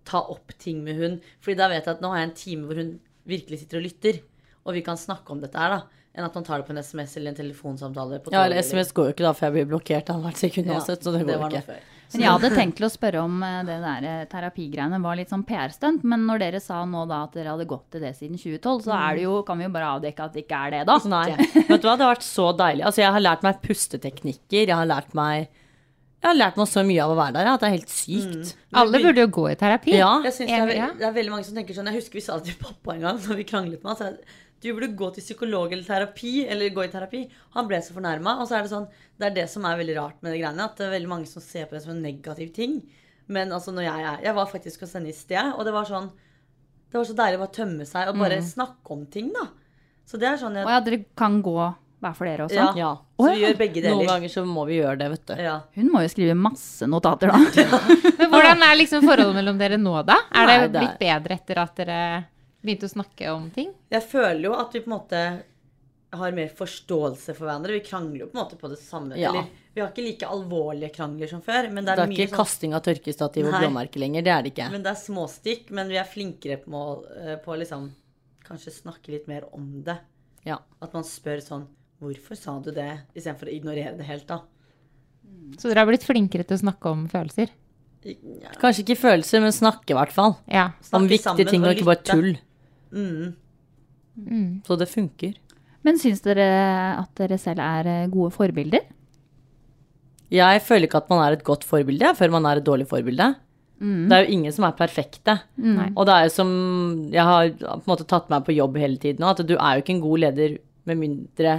ta opp ting med hun. Fordi da vet jeg at nå har jeg en time hvor hun virkelig sitter og lytter, og vi kan snakke om dette her, da. Enn at man tar det på en SMS eller en telefonsamtale. På Ja, toget, eller SMS går jo ikke da, for jeg blir blokkert av hvert sekund Ja, uansett, så det det går var jo noe ikke. før. Men jeg hadde tenkt til å spørre om eh, det der eh, terapigreiene var litt sånn PR-stunt. Men når dere sa nå da at dere hadde gått til det siden 2012, så er det jo, kan vi jo bare avdekke at det ikke er det, da. Nei. Vet du hva, det har vært så deilig. Altså, jeg har lært meg pusteteknikker, jeg har lært meg Jeg har lært meg så mye av å være der, ja, at det er helt sykt. Alle burde jo gå i terapi. Ja. Jeg synes det, er, Enig, ja. veld- det er veldig mange som tenker sånn Jeg husker vi sa det til pappa en gang når vi kranglet med han. sa jeg, Du burde gå til psykolog eller terapi. Eller gå i terapi. Han ble så fornærma. Og så er det sånn Det er det som er veldig rart med de greiene. At det er veldig mange som ser på det som en negativ ting. Men altså når jeg er Jeg var faktisk hos henne i sted, og det var sånn Det var så deilig å bare tømme seg og bare snakke om ting, da. Så det er sånn Og jeg, ja, dere kan gå hver for dere også. Ja. ja. Så vi gjør begge Noen deler. ganger så må vi gjøre det, vet du. Ja. Hun må jo skrive masse notater, da. Men hvordan er liksom forholdet mellom dere nå, da? Er det Nei, det er- blitt bedre etter at dere begynte å snakke om ting? Jeg føler jo at vi på en måte har mer forståelse for hverandre. Vi krangler jo på en måte på det samme. Ja. Eller, vi har ikke like alvorlige krangler som før. Men det er, Det er mye ikke sånn kasting av tørkestativ og Nei. blåmerke lenger. Det er det ikke. Men det er småstikk, men vi er flinkere på, må- eh, på å liksom kanskje snakke litt mer om det. Ja. At man spør sånn Hvorfor sa du det? Istedenfor å ignorere det helt, da. Så dere har blitt flinkere til å snakke om følelser? Kanskje ikke følelser, men snakke i hvert fall. Ja. Snakke Om sammen viktige ting og og ikke bare lytte. tull. Mm. Mm. Så det funker. Men syns dere at dere selv er eh, gode forbilder? Jeg føler ikke at man er et godt forbilde jeg, før man er et dårlig forbilde. Det er jo ingen som er perfekte. Og det er jo som jeg har på en måte tatt meg på jobb hele tiden nå, at du er jo ikke en god leder med mindre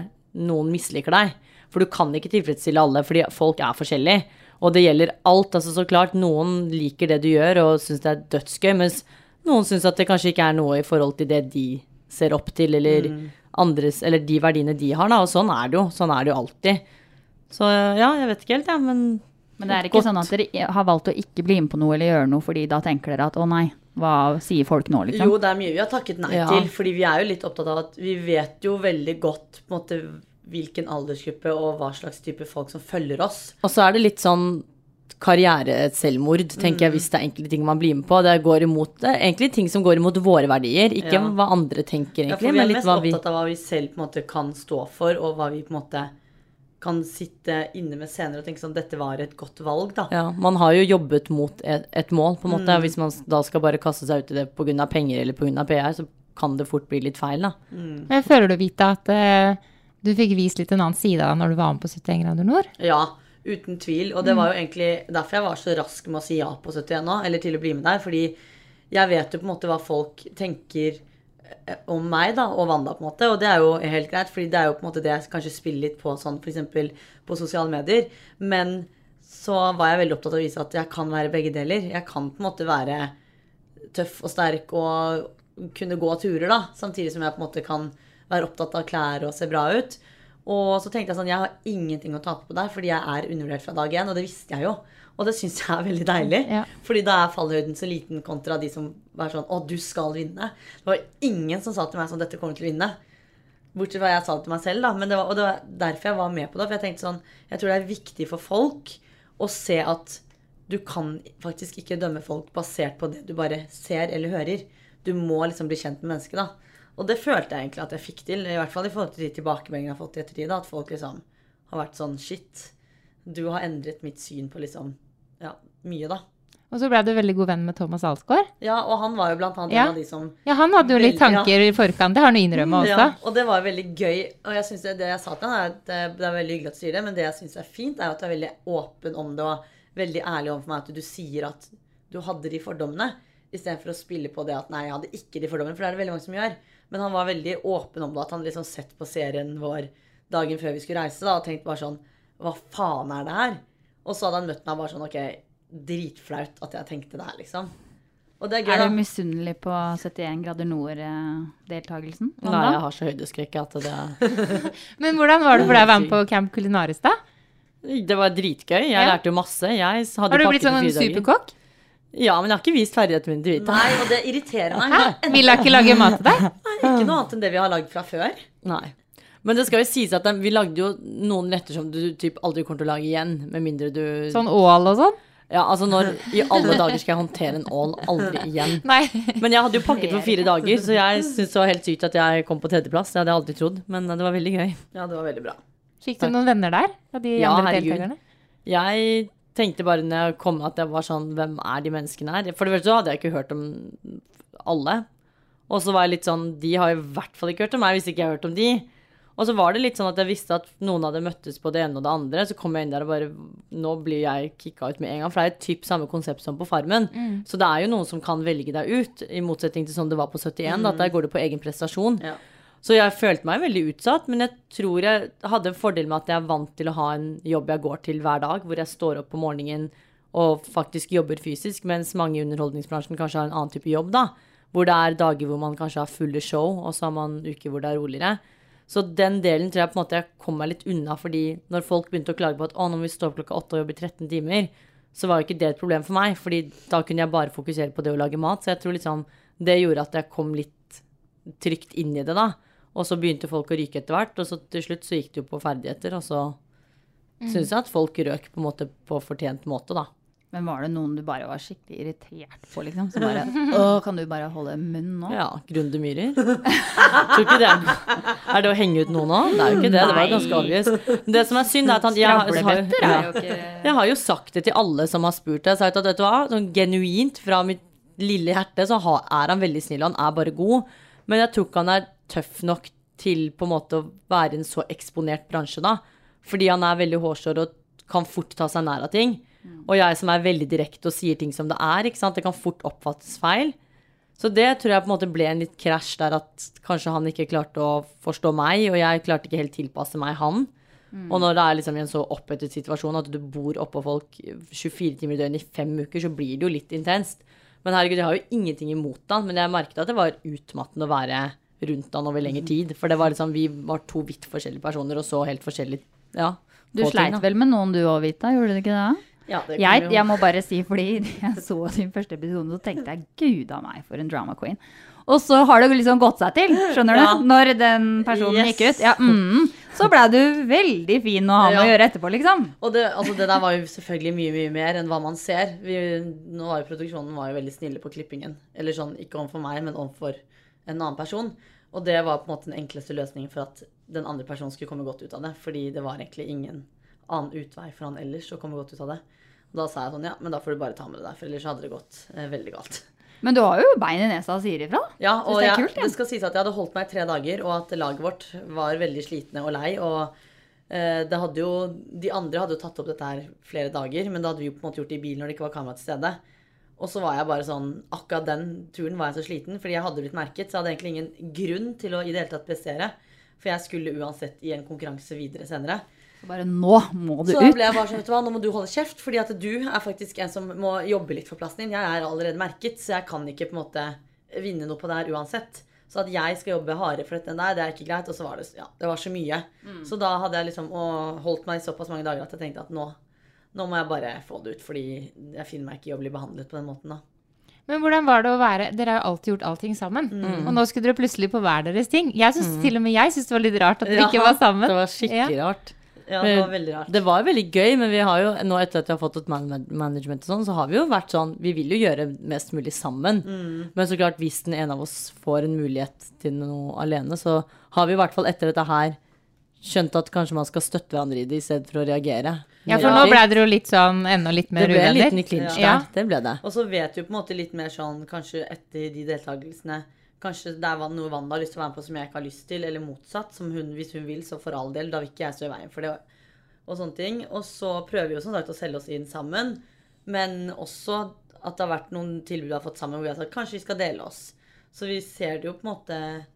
noen misliker deg. For du kan ikke tilfredsstille alle, fordi folk er forskjellige. Og det gjelder alt. altså så klart Noen liker det du gjør og syns det er dødsgøy, mens noen syns at det kanskje ikke er noe i forhold til det de ser opp til, eller, andres, eller de verdiene de har. da, Og sånn er det jo. Sånn er det jo alltid. Så ja, jeg vet ikke helt, jeg, ja, men Men det er ikke Godt. sånn at dere i- har valgt å ikke bli med på noe eller gjøre noe fordi da tenker dere at å nei, hva sier folk nå, liksom? Jo, det er mye vi har takket nei Ja. til. Fordi vi er jo litt opptatt av at vi vet jo veldig godt på en måte, hvilken aldersgruppe og hva slags type folk som følger oss. Og så er det litt sånn karriere-selvmord, tenker jeg, hvis det er enkelte ting man blir med på. Det går imot, det er egentlig ting som går imot våre verdier, ikke Ja. hva andre tenker, Ja, for egentlig, vi men er litt mest hva vi opptatt av hva vi selv på en måte kan stå for, og hva vi på en måte kan sitte inne med senere og tenke sånn Dette var et godt valg, da. ja, Man har jo jobbet mot et, et mål, på en måte. Hvis man s- da skal bare kaste seg ut i det pga. penger eller pga. PR, så kan det fort bli litt feil, da. Men jeg føler du, Vita, at eh, du fikk vist litt en annen side av deg når du var med på 71 grader nord? Ja, uten tvil. Og det var jo egentlig derfor jeg var så rask med å si ja på 71 nå, eller til å bli med der. Fordi jeg vet jo på en måte hva folk tenker eh, om meg da, og Wanda, på en måte. Og det er jo helt greit, fordi det er jo på en måte det jeg kanskje spiller litt på sånn, f.eks. på sosiale medier. Men så var jeg veldig opptatt av å vise at jeg kan være begge deler. Jeg kan på en måte være tøff og sterk og kunne gå turer, da. Samtidig som jeg på en måte kan være opptatt av klær og se bra ut. Og så tenkte jeg sånn, jeg har ingenting å tape på der, fordi jeg er undervurdert fra dag én. Og det visste jeg jo. Og det syns jeg er veldig deilig. Ja. Fordi da er fallhøyden så liten kontra de som var sånn Å, du skal vinne. Det var ingen som sa til meg sånn Dette kommer du til å vinne. Bortsett fra jeg sa det til meg selv, da. Men det var, og det var derfor jeg var med på det. For jeg tenkte sånn Jeg tror det er viktig for folk å se at du kan faktisk ikke dømme folk basert på det du bare ser eller hører. Du må liksom bli kjent med mennesket, da. Og det følte jeg egentlig at jeg fikk til. I hvert fall i forhold til de tilbakemeldingene jeg har fått i ettertid. da, At folk liksom har vært sånn Shit, du har endret mitt syn på liksom Ja, mye, da. Og så ble du veldig god venn med Thomas Alsgaard. Ja, og han var jo blant annet Ja. en av de som Ja, han hadde jo litt Veldig, tanker i forkant, det har han jo Mm, innrømmet også. Mm, ja, Og det var veldig gøy. Og jeg synes det, det jeg sa til han er at eh, det er veldig hyggelig at du sier det, men det jeg syns er fint, er at du er veldig åpen om det og veldig ærlig overfor meg at du sier at du hadde de fordommene, istedenfor å spille på det at nei, jeg hadde ikke de fordommene, for det er det veldig mange som gjør. Men han var veldig åpen om det, at han liksom sett på serien vår dagen før vi skulle reise da, og tenkt bare sånn Hva faen er det her? Og så hadde han møtt meg bare sånn OK, dritflaut at jeg tenkte det her, liksom. Og det er gøy, Er da. du misunnelig på 71 grader eh, nord-deltakelsen? sånn Nei, jeg har så høydeskrekk at det Men hvordan var det for deg å være med på Camp Culinaris, da? Det var dritgøy. Jeg Ja. lærte jo masse. Jeg s- hadde Har du pakke blitt for sånn fire dager. superkokk? Ja, men jeg har ikke vist ferdighetene mine til Vita. Nei, og det irriterer meg. Vil hun ikke lage mat til deg? Ikke noe annet enn det vi har lagd fra før. Nei. Men det skal jo sies at den- vi lagde jo noen retter som du typ aldri kommer til å lage igjen. Med mindre du Sånn ål og sånn? Ja, altså når I alle dager skal jeg håndtere en ål. Aldri igjen. Nei. Men jeg hadde jo pakket for fire dager, så jeg syns det var helt sykt at jeg kom på tredjeplass. Det hadde jeg aldri trodd, men eh, det var veldig gøy. Ja, det var veldig bra. Fikk du noen venner der? Av de Ja, andre herregud. deltakerne? Jeg tenkte bare når jeg kom at jeg var sånn Hvem er de menneskene her? For det første så hadde jeg ikke hørt om alle. Og så var jeg litt sånn De har i hvert fall ikke hørt om meg hvis ikke jeg har hørt om de. Og så var det litt sånn at jeg visste at noen hadde møttes på det ene og det andre. Så kom jeg inn der og bare Nå blir jeg kicka ut med en gang. For det er jo typ samme konsept som på Farmen. Så det er jo noen som kan velge deg ut, i motsetning til sånn det var på 71. At der går det på egen prestasjon. Ja. Så jeg følte meg veldig utsatt, men jeg tror jeg hadde en fordel med at jeg er vant til å ha en jobb jeg går til hver dag, hvor jeg står opp på morgenen og faktisk jobber fysisk, mens mange i underholdningsbransjen kanskje har en annen type jobb, da. Hvor det er dager hvor man kanskje har fulle show, og så har man uker hvor det er roligere. Så den delen tror jeg på en måte jeg kom meg litt unna, fordi når folk begynte å klage på at å, nå må vi stå opp klokka åtte og jobbe i 13 timer, så var jo ikke det et problem for meg, fordi da kunne jeg bare fokusere på det å lage mat. Så jeg tror liksom det gjorde at jeg kom litt trygt inn i det, da. Og så begynte folk å ryke etter hvert, og så til slutt så gikk det jo på ferdigheter. Og så syns jeg at folk røk på en måte på fortjent måte, da. Men var det noen du bare var skikkelig irritert på, liksom? Som bare Å, kan du bare holde munn nå? Ja, Grunde Myhrer. Tror ikke det. Er det å henge ut noen nå? Det er jo ikke det. Det var jo ganske Nei. obvious. Det som er synd, er at han jeg, har- Skravlebøtter ja. er jo ikke Jeg har jo sagt det til alle som har spurt. Jeg har sagt at vet du hva, sånn genuint fra mitt lille hjerte så ha- er han veldig snill, og han er bare god. Men jeg tror ikke han er tøff nok til på en måte å være i en så eksponert bransje, da. Fordi han er veldig hårsår og kan fort ta seg nær av ting. Og jeg som er veldig direkte og sier ting som det er, ikke sant? det kan fort oppfattes feil. Så det tror jeg på en måte ble en litt krasj der at kanskje han ikke klarte å forstå meg, og jeg klarte ikke helt tilpasse meg han. Og når det er liksom i en så opphetet situasjon at du bor oppå folk 24 timer i døgnet i fem uker, så blir det jo litt intenst. Men herregud, jeg har jo ingenting imot han, men jeg merket at det var utmattende å være rundt han over lengre tid. For det var liksom, vi var to vidt forskjellige personer og så helt forskjellig ja, Du på ting, sleit da. vel med noen du òg, Vita? Gjorde du ikke det? Ja, det Jeg, kommer jo- jeg må bare si, fordi jeg så din første episode, så tenkte jeg gud a meg, for en drama queen. Og så har det liksom gått seg til, skjønner Ja. du? Når den personen Yes. gikk ut. Ja, mm, så blei du veldig fin å ha med å Ja. gjøre etterpå, liksom. Og det, altså det der var jo selvfølgelig mye mye mer enn hva man ser. Vi, nå var jo Produksjonen var jo veldig snille på klippingen. Eller sånn, Ikke overfor meg, men overfor en annen person. Og det var på en måte den enkleste løsningen for at den andre personen skulle komme godt ut av det. Fordi det var egentlig ingen annen utvei for han ellers å komme godt ut av det. Og da sa jeg sånn, ja, men da får du bare ta med det der, for ellers hadde det gått eh, veldig galt. Men du har jo bein i nesa og sier ifra. Ja, Synes og det er det, jeg, kult, ja. det skal sies at jeg hadde holdt meg i tre dager, og at laget vårt var veldig slitne og lei. Og eh, det hadde jo, de andre hadde jo tatt opp dette her flere dager, men da hadde vi jo på en måte gjort det i bilen når det ikke var kamera til stede. Og så var jeg bare sånn Akkurat den turen var jeg så sliten, fordi jeg hadde blitt merket. Så jeg hadde egentlig ingen grunn til å i det hele tatt prestere. For jeg skulle uansett i en konkurranse videre senere. Så bare nå må du Så da ut. ble jeg bare sånn, vet du hva, nå må du holde kjeft, fordi at du er faktisk en som må jobbe litt for plassen din. Jeg er allerede merket, så jeg kan ikke på en måte vinne noe på det her uansett. Så at jeg skal jobbe hardere for dette enn deg, det er ikke greit. Og så var det, ja, det var så mye. Mm. Så da hadde jeg liksom og holdt meg i såpass mange dager at jeg tenkte at nå, nå må jeg bare få det ut, fordi jeg finner meg ikke i å bli behandlet på den måten da. Men hvordan var det å være Dere har jo alltid gjort allting sammen. Og nå skulle dere plutselig på hver deres ting. Jeg synes, Til og med jeg syns det var litt rart at dere Ja, ikke var sammen. Det var skikkelig rart. Eh, Ja, det var veldig rart. Det var veldig gøy, men vi har jo, nå etter at vi har fått et man man- management og sånn, så har vi jo vært sånn Vi vil jo gjøre mest mulig sammen. Mm. Men så klart, hvis den ene av oss får en mulighet til noe alene, så har vi i hvert fall etter dette her skjønt at kanskje man skal støtte hverandre i det, i stedet for å reagere. Ja, for nå ble dere jo litt sånn enda litt Det mer ble en uvenner. liten clinch Ja. der. Det ble det. Og så vet du på en måte litt mer sånn, kanskje etter de deltakelsene Kanskje det er van- noe Wanda har lyst til å være med på som jeg ikke har lyst til, eller motsatt. som hun, Hvis hun vil, så for all del. Da vil ikke jeg stå i veien for det. Og, og sånne ting. Og så prøver vi jo som sagt å selge oss inn sammen. Men også at det har vært noen tilbud vi har fått sammen hvor vi har sagt kanskje vi skal dele oss. Så vi ser det jo på en måte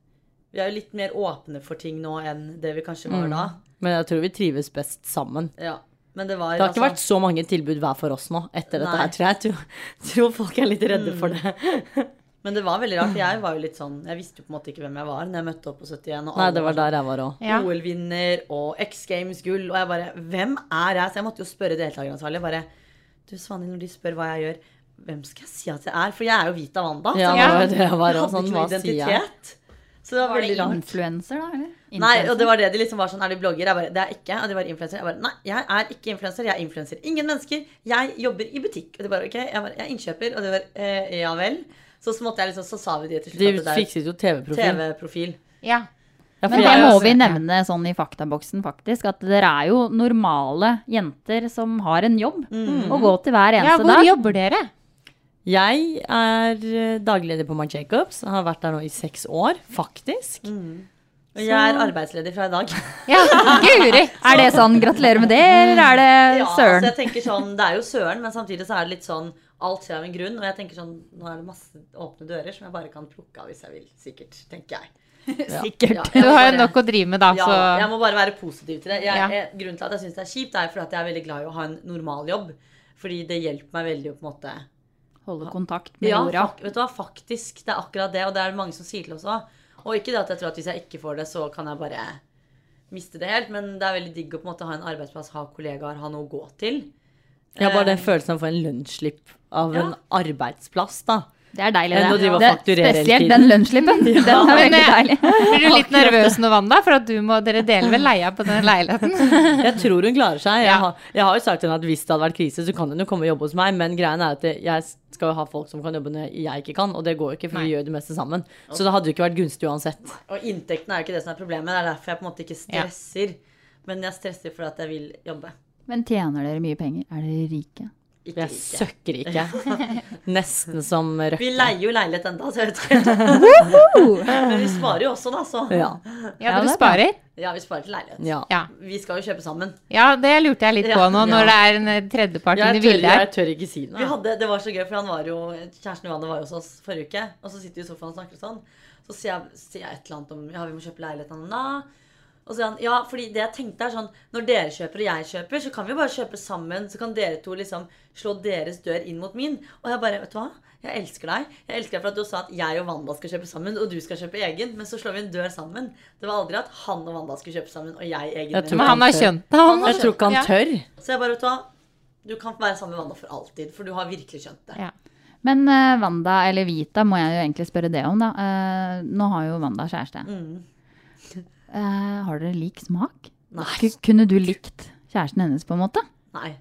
Vi er jo litt mer åpne for ting nå enn det vi kanskje var da. Men jeg tror vi trives best sammen. Ja. Men det var Mm. altså, Det har ikke vært så mange tilbud hver for oss nå etter Nei. dette Mm. her, tror jeg. jeg. Tror, tror folk er litt redde for det. Men det var veldig rart. for Jeg var jo litt sånn Jeg visste jo på en måte ikke hvem jeg var når jeg møtte opp på 71. Og Nei, alle det var sånn- der jeg var òg. Ja. OL-vinner og X Games-gull. Og jeg bare Hvem er jeg? Så jeg måtte jo spørre deltakeransvarlig. Bare Du, Svanhild, når de spør hva jeg gjør, hvem skal jeg si at jeg er? For jeg er jo Vita Wanda. så Ja, Ja. jeg det var det jeg var hadde òg. Sånn, ikke hva noe sier jeg? identitet. Så det var, Var det veldig rart. influenser, da? eller? Nei, og Influencer? det var det de liksom var sånn Er du blogger? Jeg bare Det er jeg ikke. Og de var influenser. Jeg bare Nei, jeg er ikke influenser. Jeg er influenser. Ingen mennesker. Jeg jobber i butikk. Og de bare OK. Jeg bare Jeg er innkjøper. Og de bare eh, Ja vel. Så, så måtte jeg liksom Så sa vi det til slutt. De at det fikset jo TV-profil. er TV-profil. Ja. Ja, for Men det jeg- må vi nevne sånn i faktaboksen, faktisk. At dere er jo normale jenter som har en jobb Mm. å gå til hver ja, eneste dag. hvor jobber dere? Jeg er eh, dagleder på Marc Jacobs. Har vært der nå i seks år, faktisk. Og jeg er arbeidsledig fra i dag. Ja, Guri! Er det sånn 'gratulerer med det', eller er det Ja, altså søren? jeg tenker sånn, Det er jo søren, men samtidig så er det litt sånn Alt skjer av en grunn. Og jeg tenker sånn, nå er det masse åpne dører som jeg bare kan plukke av hvis jeg vil. Sikkert, tenker jeg. Sikkert. Ja, jeg Du må har jo bare- nok å drive med, da. ja, jeg Så må bare være positiv til det. Jeg, Ja. jeg, grunnen til at jeg syns det er kjipt, er fordi at jeg er veldig glad i å ha en normal jobb. Fordi det hjelper meg veldig å på en måte Holde kontakt med Ja, jorda. fak, vet du hva, faktisk. Det er akkurat det, og det er det mange som sier til oss òg. Og ikke det at jeg tror at hvis jeg ikke får det, så kan jeg bare miste det helt, men det er veldig digg å på en måte ha en arbeidsplass, ha kollegaer, ha noe å gå til. Eh, Jeg har bare den følelsen av å få en lønnsslipp av en arbeidsplass, da. Det er deilig, Enn å det. drive og det er fakturere hele spesielt tiden. den lønnsslippen. Den er veldig deilig. Blir du litt nervøs nå, Wanda, for at du må, dere deler vel leia på den leiligheten? Jeg tror hun klarer seg. Jeg Ja. har, jeg har jo sagt til henne at hvis det hadde vært krise, så kan hun jo komme og jobbe hos meg, men greien er at jeg skal jo ha folk som kan jobbe når jeg ikke kan, og det går jo ikke, for vi gjør det meste sammen. Så det hadde jo ikke vært gunstig uansett. Og inntekten er jo ikke det som er problemet. Det er derfor jeg på en måte ikke stresser. Men jeg stresser fordi at jeg vil jobbe. Men tjener dere mye penger? Er dere rike? Ikke, Jeg ikke. søkker ikke. Nesten som Vi Røkke. leier jo leilighet enda, så jeg vet ikke. Men vi sparer jo også, da, så. Ja. Ja, det dere er bra. sparer? Ja, vi sparer til leilighet. ja. Ja. Vi skal jo kjøpe sammen. ja, det lurte jeg litt på Ja. nå, når det er en eh, tredjepart inne Jeg i tør, bildet her. jeg tør ikke si Vi noe. hadde, det var så gøy, for han var jo, kjæresten Johanne var jo hos oss forrige uke. Og så sitter vi i sofaen og snakker sånn. Så sier jeg, sier jeg et eller annet om ja, vi må kjøpe leilighet. na, na, na. Og så sier han, ja, fordi det jeg tenkte er sånn, Når dere kjøper og jeg kjøper, så kan vi bare kjøpe sammen. Så kan dere to liksom slå deres dør inn mot min. Og jeg bare, vet du hva? Jeg elsker deg. Jeg elsker deg for at du sa at jeg og Wanda skal kjøpe sammen, og du skal kjøpe egen. Men så slår vi en dør sammen. Det var aldri at han og Wanda skulle kjøpe sammen, og jeg egen. Jeg tror- Men han har skjønt det, han. Jeg tror ikke han tør. Så jeg bare, vet du hva? Du kan være sammen med Wanda for alltid, for du har virkelig skjønt det. Ja. Men eh, Wanda, eller Vita, må jeg jo egentlig spørre det om, da. Eh, nå har jo Wanda kjæreste. Eh, har dere lik smak? Nei. Ku- Kunne du likt kjæresten hennes, på en måte? Nei.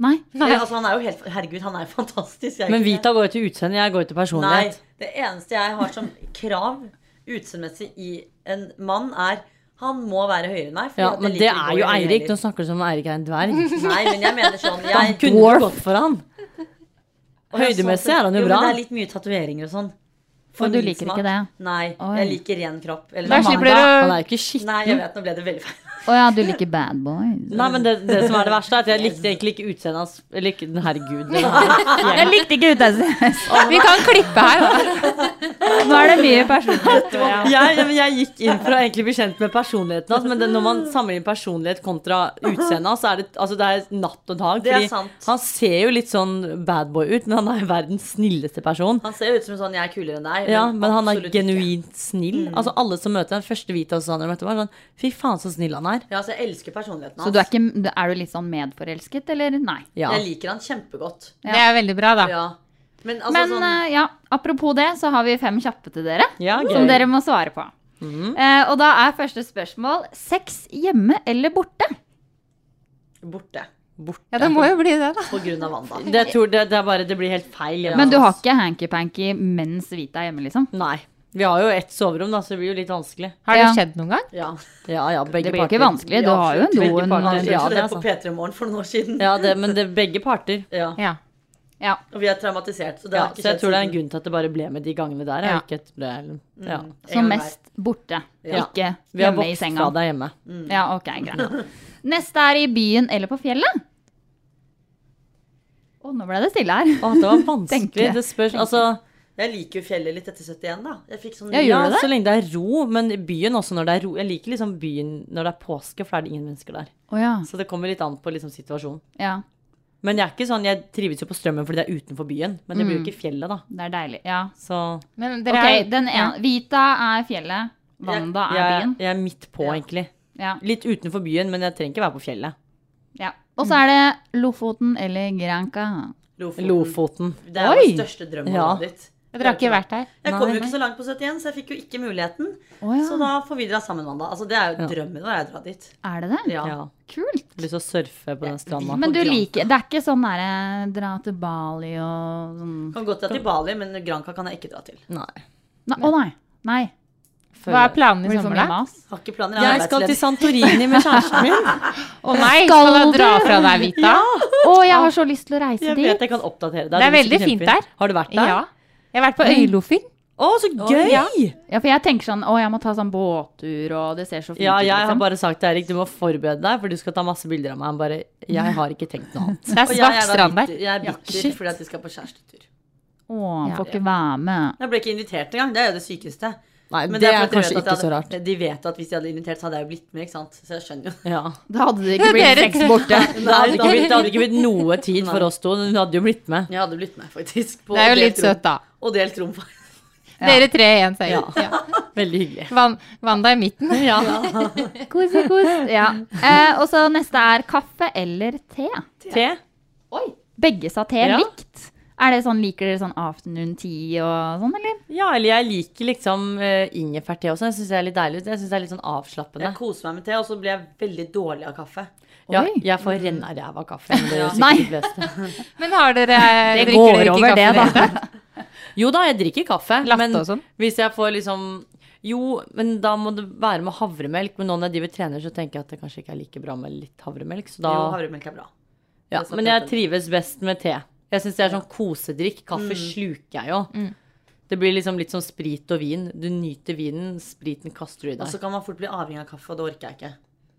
Nei. Eller, altså, han er jo helt, herregud, han er jo fantastisk. Jeg er Men ikke det. Vita går jo til utseende, jeg går jo til Nei, personlighet. det eneste jeg har som krav utseendemessig i en mann, er han må være høyere enn meg. fordi Ja, at jeg liker ikke men det er å jo gjøre Eirik. Nå heller. snakker du som om Eirik er en dverg. Nei, men jeg mener sånn jeg, Han kunne jo gått for han. Høydemessig er han jo bra. Men det er litt mye tatoveringer og sånn. Og du min liker ikke det? Nei, Oi. jeg liker ren kropp. Eller Da sånn- slipper dere å Han er jo ikke skitten. Nei, jeg vet, nå ble det veldig feil. Å ja, du liker bad boys. Nei, men det, det som er det verste, er at jeg likte egentlig ikke utseendet hans. Eller ikke Herregud. det var- Jeg likte ikke utseendet. Vi kan klippe her. da. Nå er det mye personlighet. Jeg, jeg, jeg gikk inn for å egentlig bli kjent med personligheten hans, men det, når man sammenligner personlighet kontra utseendet hans, så er det, altså, det er natt og dag. Det er Fordi sant. han ser jo litt sånn bad boy ut, men han er jo verdens snilleste person. Han ser ut som sånn 'jeg er kulere enn deg'. Ja, men han er absolutt ikke. genuint snill. Altså Alle som møter ham, første hvite hos han, møtte, var sånn Fy faen, så snill han er. Ja, så jeg elsker personligheten Så hans. du er, ikke, er du litt sånn medforelsket, eller nei? Ja. Jeg liker han kjempegodt. Det er veldig bra, da. Ja. Men altså Men sånn eh, ja, apropos det, så har vi fem kjappe til dere. Ja, gøy. Mhm. Som dere må svare på. Eh, og da er første spørsmål sex hjemme eller borte? borte. Ja, det må jo bli det, da. På grunn av Wanda. Det, jeg tror det, det er bare Det blir helt feil. hjemme Men du hos har oss. ikke hanky-panky mens Vita er hjemme, liksom? Nei. Vi har jo ett soverom, da, så det blir jo litt vanskelig. Har Ja. det skjedd noen gang? Ja. Ja, ja, begge Det blir ikke parter. vanskelig. Du har jo en do. Begge en- parter. Vi Ja, ja, det det er på sant. P3 Morgen for noen år siden. Ja. altså. Ja, det, men det er begge parter. Ja. Og vi er traumatisert, så det Ja, har ikke så jeg skjedd tror det er en siden. grunn til at det bare ble med de gangene der. Ja. Ja. Mm. Ikke et, det, er- ja. Så gang hver. mest borte, Ja. ikke Vi har hjemme i vokst fra senga. deg hjemme. Ja, ok, greit. Neste er i byen eller på fjellet. Å, nå ble det stille her. Å, det var Tenker vanskelig. jeg. Det spørs Altså, Jeg liker jo fjellet litt etter 71, da. Jeg fikk sånn Ja, gjør ja, du det? så lenge det er ro, men byen også når det er ro. Jeg liker liksom byen når det er påske, for da er det ingen mennesker der. Å ja. Så det kommer litt an på liksom situasjonen. ja. Men jeg er ikke sånn, jeg trives jo på strømmen fordi det er utenfor byen. Men det blir jo ikke fjellet, da. Det er deilig. Ja. Så Men dere har- Ok, den ene. Vita er fjellet, Wanda er jeg, byen. jeg er midt på, egentlig. Ja. Litt utenfor byen, men jeg trenger ikke være på fjellet. Ja. Og så er det Lofoten eller Granca. Lofoten. Lofoten. Mm. Det er Oi! den største drømmen Ja. ditt. Dere har ikke vært der? Jeg Nei, kom jo nei. ikke så langt på 71, så jeg fikk jo ikke muligheten. Å ja. Så da får vi dra sammen, Wanda. Altså, det er jo drømmen vår, jeg drar dit. Er det det? Ja. Ja. sånn Kult. Lyst til å surfe på den stranda. Men du Granca. liker Det er ikke sånn derre dra til Bali og sånn Kan godt dra til Bali, men Granca kan jeg ikke dra til. Nei. Nei, Å nei. Nei. Liksom Hva er planene i Blir det for sommer, mye da? mas? Har ikke planer. Jeg skal til Santorini med kjæresten min. Å nei, skal Skal du dra du? fra deg, Vita? Å, jeg har så lyst til å reise Jeg dit. vet jeg kan oppdatere deg. Det er blir sikkert veldig fint kjempefint. der. Har du vært der? Ja. Jeg har vært på Øyloffing. Å, så gøy! ja. Ja, for jeg tenker sånn Å, jeg må ta sånn båttur, og det ser så fint ut. Ja, jeg har liksom. bare sagt til Erik du må forberede deg, for du skal ta masse bilder av meg. Han bare Jeg har ikke tenkt noe annet. Det er svart strand der. Jeg er bitter fordi at vi skal på kjærestetur. Å, Ja. får ikke være med. Jeg ble ikke invitert engang. Det er jo det sykeste. Nei, Men det, er er, fordi de vet kanskje at ikke jeg så hadde- rart. De vet at hvis de hadde invitert, så hadde jeg jo blitt med, ikke sant. Så jeg skjønner jo. Ja. Da hadde det ikke blitt Dere- sex borte. Det hadde ikke blitt, det hadde ikke blitt noe tid for oss to. men Hun hadde jo blitt med. Jeg hadde blitt med, faktisk. på Det er jo delt litt rom. søtt, da. Og delt rom. faktisk. Dere tre i én seng. Ja. Veldig hyggelig. Van- Wanda i midten. Ja. Kos, kos. Ja. Eh, og så neste er kaffe eller te. Te? Begge sa te Ja. likt. Er det sånn, Liker dere sånn afternoon tea og sånn, eller? Ja, eller jeg liker liksom eh, ingefærte også. Jeg syns det er litt deilig. ut. Jeg synes det er litt sånn avslappende. Jeg koser meg med te, og så blir jeg veldig dårlig av kaffe. Ja, Oi. jeg får renna ræva av kaffe. Men det gjør Nei. sikkert de fleste. Men har dere eh, Det drikker dere går ikke over kaffe det, i da. hele tatt? Jo da, jeg drikker kaffe. Latte men og sånn? hvis jeg får liksom Jo, men da må det være med havremelk. Men nå når jeg driver trener, så tenker jeg at det kanskje ikke er like bra med litt havremelk. Så da Jo, havremelk er bra. ja, det skal Men jeg jeg trives best med te. Jeg syns det er sånn kosedrikk. Kaffe Mm. sluker jeg jo. Det blir liksom litt som sprit og vin. Du nyter vinen, spriten kaster du i Og deg. så kan man fort bli avhengig av kaffe, og det orker jeg ikke.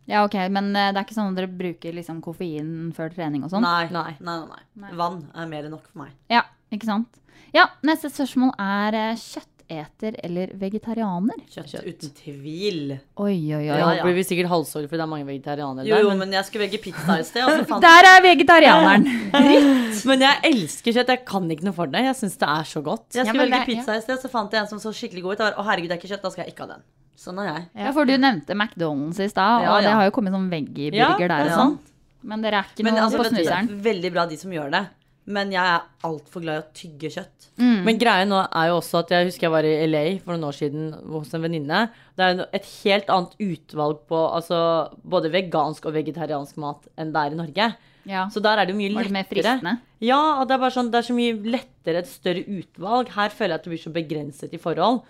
Ja, ok, Men eh, det er ikke sånn at dere bruker liksom koffein før trening og sånn? Nei. Nei. Nei. Nei, nei, Vann er mer enn nok for meg. Ja, ikke sant? Ja, Neste spørsmål er eh, kjøtteter eller vegetarianer? Kjøtt, uten tvil. Oi, oi, oi. Ja, ja. blir vi sikkert halvsorg fordi det er mange vegetarianere Jo, der. jo, Men, men jeg skulle velge pizza i sted, og så fant Der er vegetarianeren! men jeg elsker kjøtt. Jeg kan ikke noe for det. Jeg syns det er så godt. jeg Ja, skulle men velge det- pizza i sted, så fant jeg en som så skikkelig god ut. Jeg var, Å, herregud, det er ikke kjøtt, da skal jeg ikke ha den. Sånn er jeg. Ja, for du nevnte McDonald's i stad, Ja, og det ja. har jo kommet sånn veggie-burger Ja, der ja. og sånn. Men dere er ikke Men noe altså, på vet du, det snuseren. er veldig bra de som gjør det. Men jeg er altfor glad i å tygge kjøtt. Men greia nå er jo også at jeg husker jeg var i LA for noen år siden hos en venninne. Det er jo et helt annet utvalg på altså, både vegansk og vegetariansk mat enn det er i Norge. Ja. Så der er det jo mye Var det lettere. mer fristende? Ja, og det er bare sånn, det er så mye lettere, et større utvalg. Her føler jeg at det blir så begrenset i forhold.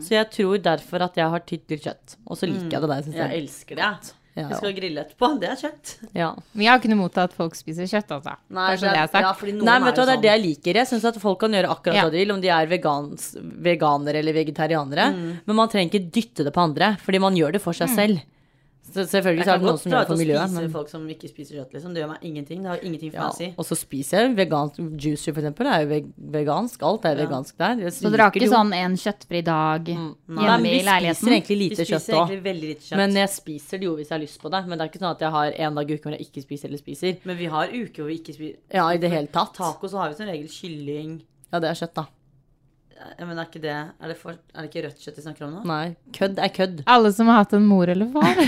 Så jeg tror derfor at jeg har tydd til kjøtt. Og så liker jeg det der. Synes Jeg jeg. elsker det. jeg. Ja, Jeg skal grille etterpå. Det er kjøtt. ja. Vi har ikke noe imot at folk spiser kjøtt, altså. Nei, Bare så det er sagt. ja, fordi noen Nei, men vet du er jo sånn. hva, det er det jeg liker. Jeg syns at folk kan gjøre akkurat Ja. hva de vil, om de er vegans, veganere eller vegetarianere. Men man trenger ikke dytte det på andre, fordi man gjør det for seg selv. Så selvfølgelig Jeg så kan er det noen godt som dra ut gjør det og for miljøet. spise Men, folk som ikke spiser kjøtt, liksom. Det gjør meg ingenting. Det har ingenting for ja. meg å si. Og så spiser jeg vegansk juicy, for eksempel. Det er jo veg vegansk. Alt er vegansk der. Jeg Så dere har liker ikke jo- sånn en kjøttfri dag Mm. Nei, hjemme men i vi spiser leiligheten? egentlig Vi lite kjøtt spiser òg. egentlig veldig lite kjøtt. Men jeg spiser det jo hvis jeg har lyst på det. Men det er ikke sånn at jeg har en dag i uken hvor jeg ikke spiser eller spiser. Men vi har uker hvor vi ikke spiser Ja, i det hele tatt. taco, så har vi som regel kylling. Ja, det er kjøtt, da. Eh, Men er ikke det Er det, for, er det ikke rødt kjøtt vi snakker om nå? Nei. Kødd er kødd. Alle som har hatt en mor eller far. det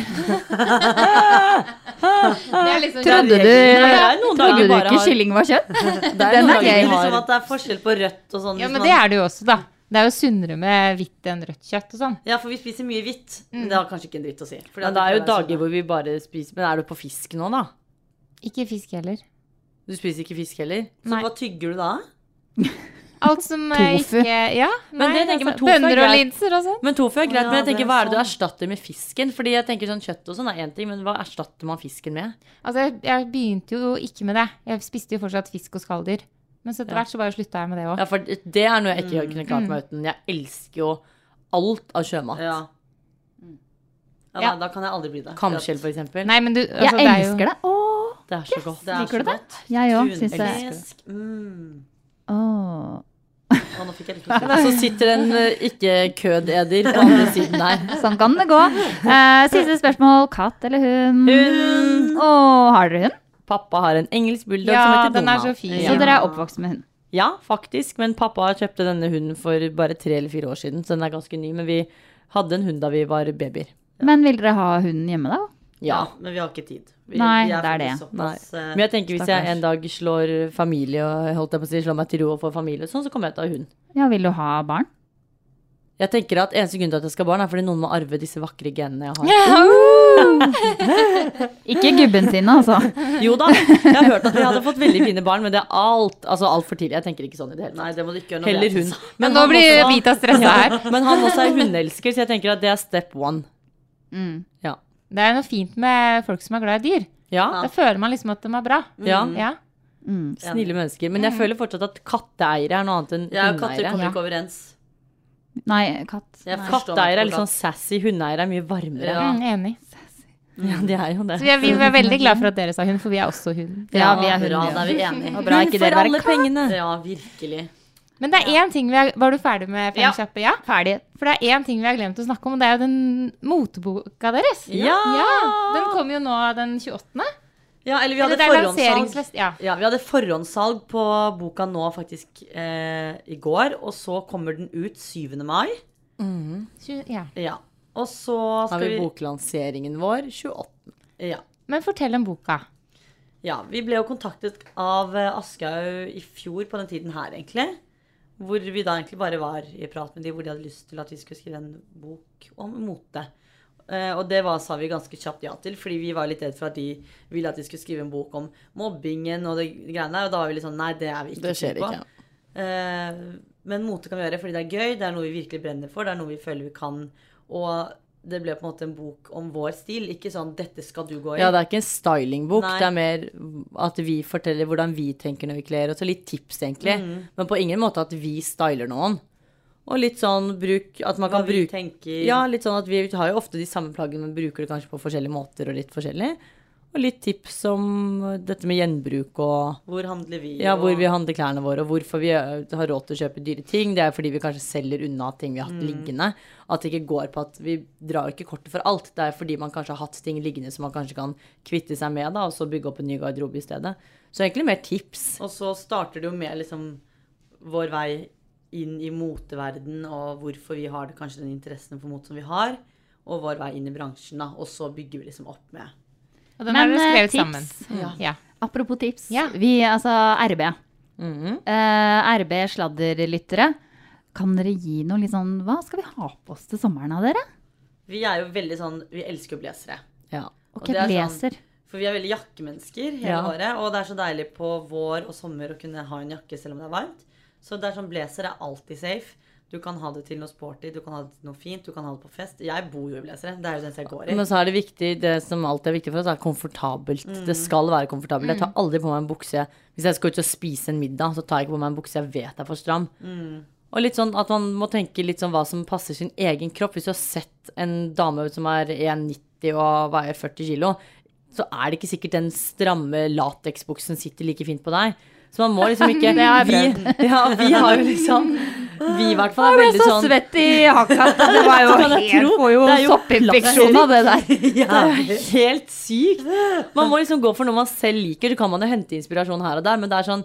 er liksom Trodde du, er noen dager trodde du bare ikke har- kylling var kjøtt? Det er Den er noen dager gøy. Det vi er har- liksom at det er forskjell på rødt og sånn. Ja, men hvis man- det er det jo også, da. Det er jo sunnere med hvitt enn rødt kjøtt og sånn. ja, for vi spiser mye hvitt. Mm. Men det har kanskje ikke en dritt å si. Fordi Ja, at det er jo ikke dager sånn. hvor vi bare spiser Men er du på fisk nå, da? Ikke fisk heller. Du spiser ikke fisk heller? Så hva tygger du da? Alt som eh, Tofu. ikke Ja. altså, Men det tenker jeg, men tofu er bønner og greit. linser og sånn. Men tofu er greit, ja, men jeg det er tenker hva er det du erstatter med fisken? Fordi jeg tenker sånn kjøtt og sånn er én ting, men hva erstatter man fisken med? Altså, jeg, jeg begynte jo ikke med det. Jeg spiste jo fortsatt fisk og skalldyr. Men så etter hvert så bare slutta jeg med det òg. Ja, for det er noe jeg ikke Mm. kunne klart meg uten. Jeg elsker jo alt av sjømat. Ja. Mm. Ja, Ja. nei, da kan jeg aldri bli det. Kamskjell, for eksempel. Nei, men du Jeg altså, elsker det. det. Åh, Det er så godt. Det er Liker du så det? godt. jeg òg syns det. Tunfisk. Mm. Åh. Å, nå fikk jeg litt lyst til det. Og så sitter en eh, ikke-kød-eder på andre siden her. Sånn kan det gå. Eh, siste spørsmål. Katt eller hund? Hund. Åh, har dere hund? Pappa har en engelsk bulldog Ja, som heter den er så Donald. fin. Så dere er oppvokst med hund? Ja, faktisk. Men pappa kjøpte denne hunden for bare tre eller fire år siden, så den er ganske ny. Men vi hadde en hund da vi var babyer. Men vil dere ha hunden hjemme, da? Ja. Men vi har ikke tid. Vi, Nei, vi det er det. faktisk Såpass, eh, Men jeg tenker hvis jeg Stakkars. en dag slår familie og holdt jeg på å si, slår meg til ro og får familie, og sånn, så kommer jeg til å ha hund. Ja, vil du ha barn? Jeg tenker at Eneste grunn til at jeg skal ha barn, er fordi noen må arve disse vakre genene jeg har. Uh! Ikke gubben sine, altså. Jo da, jeg har hørt at vi hadde fått veldig fine barn, men det er alt altså alt for tidlig. Jeg tenker ikke sånn i det hele Nei, tatt. det må du ikke gjøre noe Heller med. hund. Men nå han blir også- Vita stressa her. Men han også er hundeelsker, så jeg tenker at det er step one. Mm. Ja. Det er noe fint med folk som er glad i dyr. Ja, Da føler man liksom at de er bra. ja. Ja. Mm. Snille mennesker. Men jeg føler fortsatt at katteeiere er noe annet enn Jeg og katter hundeeiere. kommer ikke overens. Nei, katt. Jeg Nei. forstår meg Katteeiere ikke er på litt sånn sassy, hundeeiere er mye varmere. Ja, Mm, enig. de er jo det. Så vi er, vi er veldig glad for at dere sa hund, for vi er også hund. Ja, vi er Bra, da hunder. er vi enige. Og bra ikke dere være katt. pengene. Ja, virkelig. Men det er én ting vi har Var du ferdig med Fem Ja. kjappe? Ja. Ferdig. For det er én ting vi har glemt å snakke om, og det er jo den moteboka deres. Ja! Den kommer jo nå den 28. Ja, eller vi Eller hadde det er forhåndssalg. lanseringsfest. Ja. Ja, vi hadde forhåndssalg på boka nå faktisk eh, i går, og så kommer den ut 7. mai. Tju- ja. Ja. Og så Har skal vi vi boklanseringen vår 28. ja. Men fortell om boka. Ja, vi ble jo kontaktet av eh, Aschehoug i fjor på den tiden her, egentlig. Hvor vi da egentlig bare var i prat med de, hvor de hadde lyst til at vi skulle skrive en bok om mote. Eh, Og det var, sa vi ganske kjapt ja til, fordi vi var litt redd for at de ville at vi skulle skrive en bok om mobbingen og det greiene der. Og da var vi litt sånn nei, det er vi ikke Det skjer trygge på. ikke, ja. Eh, Men mote kan vi gjøre fordi det er gøy, det er noe vi virkelig brenner for, det er noe vi føler vi kan. Og det ble på en måte en bok om vår stil, ikke sånn 'dette skal du gå i'. Ja, det er ikke en stylingbok. Nei. Det er mer at vi forteller hvordan vi tenker når vi kler oss, og litt tips, egentlig. Mm. Men på ingen måte at vi styler noen. Og litt sånn bruk At man Hva kan vi bruke tenker. Ja, litt sånn at vi har jo ofte de samme plaggene, men bruker det kanskje på forskjellige måter og litt forskjellig. Og litt tips om dette med gjenbruk og Hvor handler vi? ja, hvor og- vi handler klærne våre, og hvorfor vi eh, har råd til å kjøpe dyre ting. Det er fordi vi kanskje selger unna ting vi har hatt liggende. At det ikke går på at vi drar ikke kortet for alt. Det er fordi man kanskje har hatt ting liggende som man kanskje kan kvitte seg med, da, og så bygge opp en ny garderobe i stedet. Så egentlig mer tips. Og så starter det jo med liksom vår vei inn i moteverden, og hvorfor vi har det, kanskje den interessen for mote som vi har, og vår vei inn i bransjen, da. Og så bygger vi liksom opp med Og den Men, har dere eh, skrevet tips. sammen. Ja. Ja. Apropos tips. Ja. Vi, altså RB. Eh, RB sladderlyttere. Kan dere gi noe litt sånn Hva skal vi ha på oss til sommeren av dere? Vi er jo veldig sånn Vi elsker jo blazere. Ja. Ok, det er sånn- leser. For vi er veldig jakkemennesker hele Ja. året. Og det er så deilig på vår og sommer å kunne ha en jakke selv om det er varmt. Så det er sånn blazer er alltid safe. Du kan ha det til noe sporty, du kan ha det til noe fint, du kan ha det på fest. Jeg bor jo i blazere. Det er jo den jeg går i. Men så er det viktig, det som alltid er viktig for oss, er komfortabelt. Mm. Det skal være komfortabelt. Jeg tar aldri på meg en bukse. Hvis jeg skal ut og spise en middag, så tar jeg ikke på meg en bukse jeg vet er for stram. Mm. Og litt sånn at man må tenke litt sånn hva som passer sin egen kropp. Hvis du har sett en dame som er 1,90 og veier 40 kilo, så er det ikke sikkert den stramme lateksbuksen sitter like fint på deg. Så man må liksom ikke Det har jeg vi, ja, vi har jo liksom Vi i hvert fall er veldig sånn svett i hakka at det var jo helt Får jo Det er jo soppinfeksjon av det der. Det er jo helt sykt. Man må liksom gå for noe man selv liker. Så kan man jo hente inspirasjon her og der, men det er sånn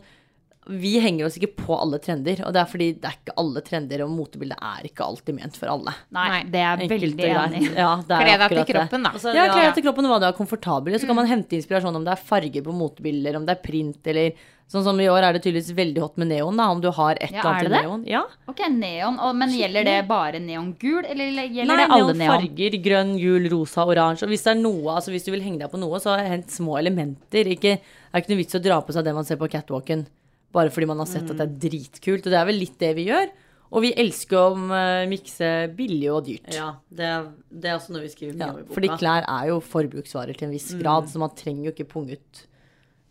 Vi henger oss ikke på alle trender. Og det er fordi det er ikke alle trender, og motebildet er ikke alltid ment for alle. Nei, det er jeg Enkelt og veldig greit. enig i. Ja, det er Kle deg til akkurat det. kroppen, da. så er Ja, det- kle deg til kroppen og hva du er komfortabel i. Så kan man hente inspirasjon om det er farger på motebilder, om det er print eller Sånn som i år er det tydeligvis veldig hot med neon, da. Om du har et Ja, eller er annet det i det? neon. Ja. Ok, neon. Og, men gjelder det bare neongul, eller gjelder Nei, det alle neon? farger. Grønn, gul, rosa, oransje. Og hvis det er noe, altså hvis du vil henge deg på noe, så hent små elementer. Ikke, det er ikke noe vits å dra på seg det man ser på catwalken. Bare fordi man har sett at det er dritkult. Og det er vel litt det vi gjør. Og vi elsker å eh, mikse billig og dyrt. Ja, det er, det er også noe vi skriver mye Ja, om i boka. fordi klær er jo forbruksvarer til en viss grad, så man trenger jo ikke punge ut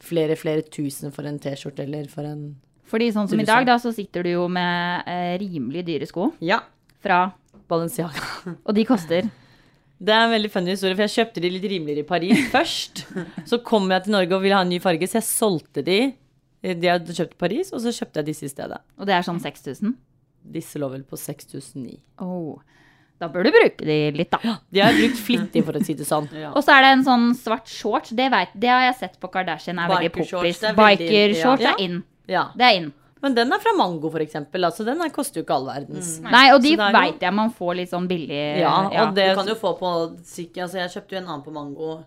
flere, flere tusen for en T-skjorte eller for en Fordi sånn som i Tusen. dag, da, så sitter du jo med eh, rimelig dyre sko Ja. fra Balenciaga. Og de koster. Det er en veldig funny historie, for jeg kjøpte de litt rimeligere i Paris først. Så kom jeg til Norge og ville ha en ny farge, så jeg solgte de eh, de jeg hadde kjøpt i Paris, og så kjøpte jeg disse i stedet. Og det er sånn 6000. Disse lå vel på 6009. Oh. Da bør du bruke de litt, da. De har jeg brukt flittig, for å si det sånn. Og så er det en sånn svart shorts. Det, vet, det har jeg sett på Kardashian er veldig Bikershorts, poppis. det er veldig- Bikershorts ja. er in. Ja. Det er in. Men den er fra Mango, for eksempel. Altså, den her koster jo ikke all verdens. Nei, og de Så det er jo- veit jeg man får litt sånn billig Ja, Mm. ja. og det Du kan jo få på syk- altså Jeg kjøpte jo en annen på Mango.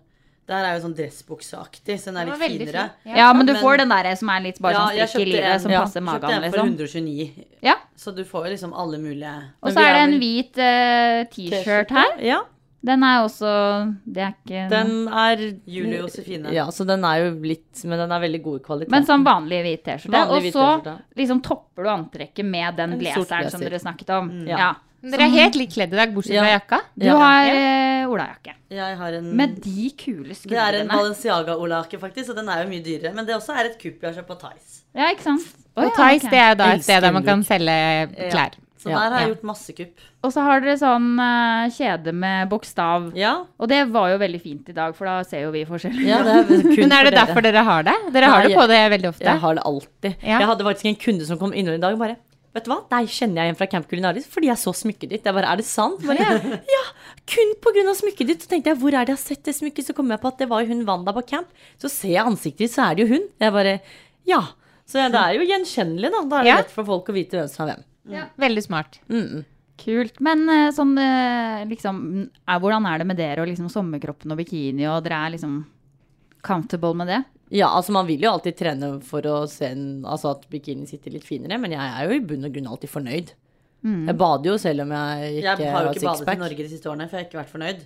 Der er jo sånn dressbukseaktig, så den er Den litt var veldig finere. fin. Ja, men du Men- får den der som er litt bare Ja, sånn strikk jeg i kjøpte livet, en- som ja, passer Kjøpte magen, en for liksom. 129, Ja. så du får jo liksom alle mulige Og Men så er vi det er en vel- hvit eh, T-shirt her. Ja, Den er også Det er ikke den er Julie Josefine. Ja, så den er jo litt Men den er veldig god i kvalitet. Men sånn vanlig hvit T-skjorte. Vanlig Og hvit så T-skjorte. liksom topper du antrekket med den En sort blazeren som blazer. dere snakket om. Ja. Ja. Men Dere er helt likt kledd i dag, bortsett fra Ja. jakka. Du har eh, olajakke. Jeg har en Med de kule Mm. Det er en skuldrene. Balenciaga-olake, faktisk, og den er jo mye dyrere. Men det også er et kupp jeg har kjøpt på Tice. Ja, ikke sant? Å, Og ja, Tice, ok. det er jo da et Elsker sted der man look. kan selge klær. Så Ja, der har jeg ja. gjort masse kupp. Og så har dere sånn eh, kjede med bokstav. Ja. Og det var jo veldig fint i dag, for da ser jo vi forskjell. Ja, det er kun Men er det for dere. derfor dere har det? Dere har Nei, det på det veldig ofte. Jeg har det alltid. Ja. Jeg hadde faktisk en kunde som kom innom i dag og bare Vet du hva, deg kjenner jeg igjen fra Camp Culinaris fordi jeg så smykket ditt. Jeg bare, er det sant? Bare, ja, kun pga. smykket ditt. Så tenkte jeg, hvor er det jeg har sett det smykket? Så kom jeg på at det var jo hun Wanda på camp. Så ser jeg ansiktet ditt, så er det jo hun. Jeg bare, ja. Så ja, det er jo gjenkjennelig, da. Da er det Ja. lett for folk å vite hvem som er hvem. Veldig smart. Kult. Men eh, sånn eh, liksom er, Hvordan er det med dere og liksom sommerkroppen og bikini, og dere er liksom comfortable med det? Ja, altså man vil jo alltid trene for å se en, altså at bikinien sitter litt finere, men jeg er jo i bunn og grunn alltid fornøyd. Mm. Jeg bader jo selv om jeg ikke Jeg har jo ikke badet i sixpack. Norge de siste årene, for jeg har ikke vært fornøyd.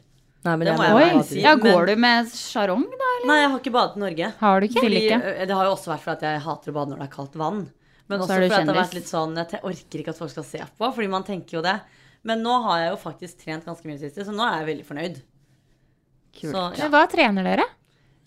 Nei, men Det jeg må jeg bader være alltid. ærlig si. Ja, men- går du med sjarong, da? Nei, jeg har ikke badet i Norge. Har du ikke? Fordi, ikke. ø, det har jo også vært fordi at jeg hater å bade når det er kaldt vann. Men Så også er du fordi at det har kjendis. vært litt sånn Jeg te- orker ikke at folk skal se på, fordi man tenker jo det. Men nå har jeg jo faktisk trent ganske mye i det siste, så nå er jeg veldig fornøyd. Så, ja. Men hva trener dere?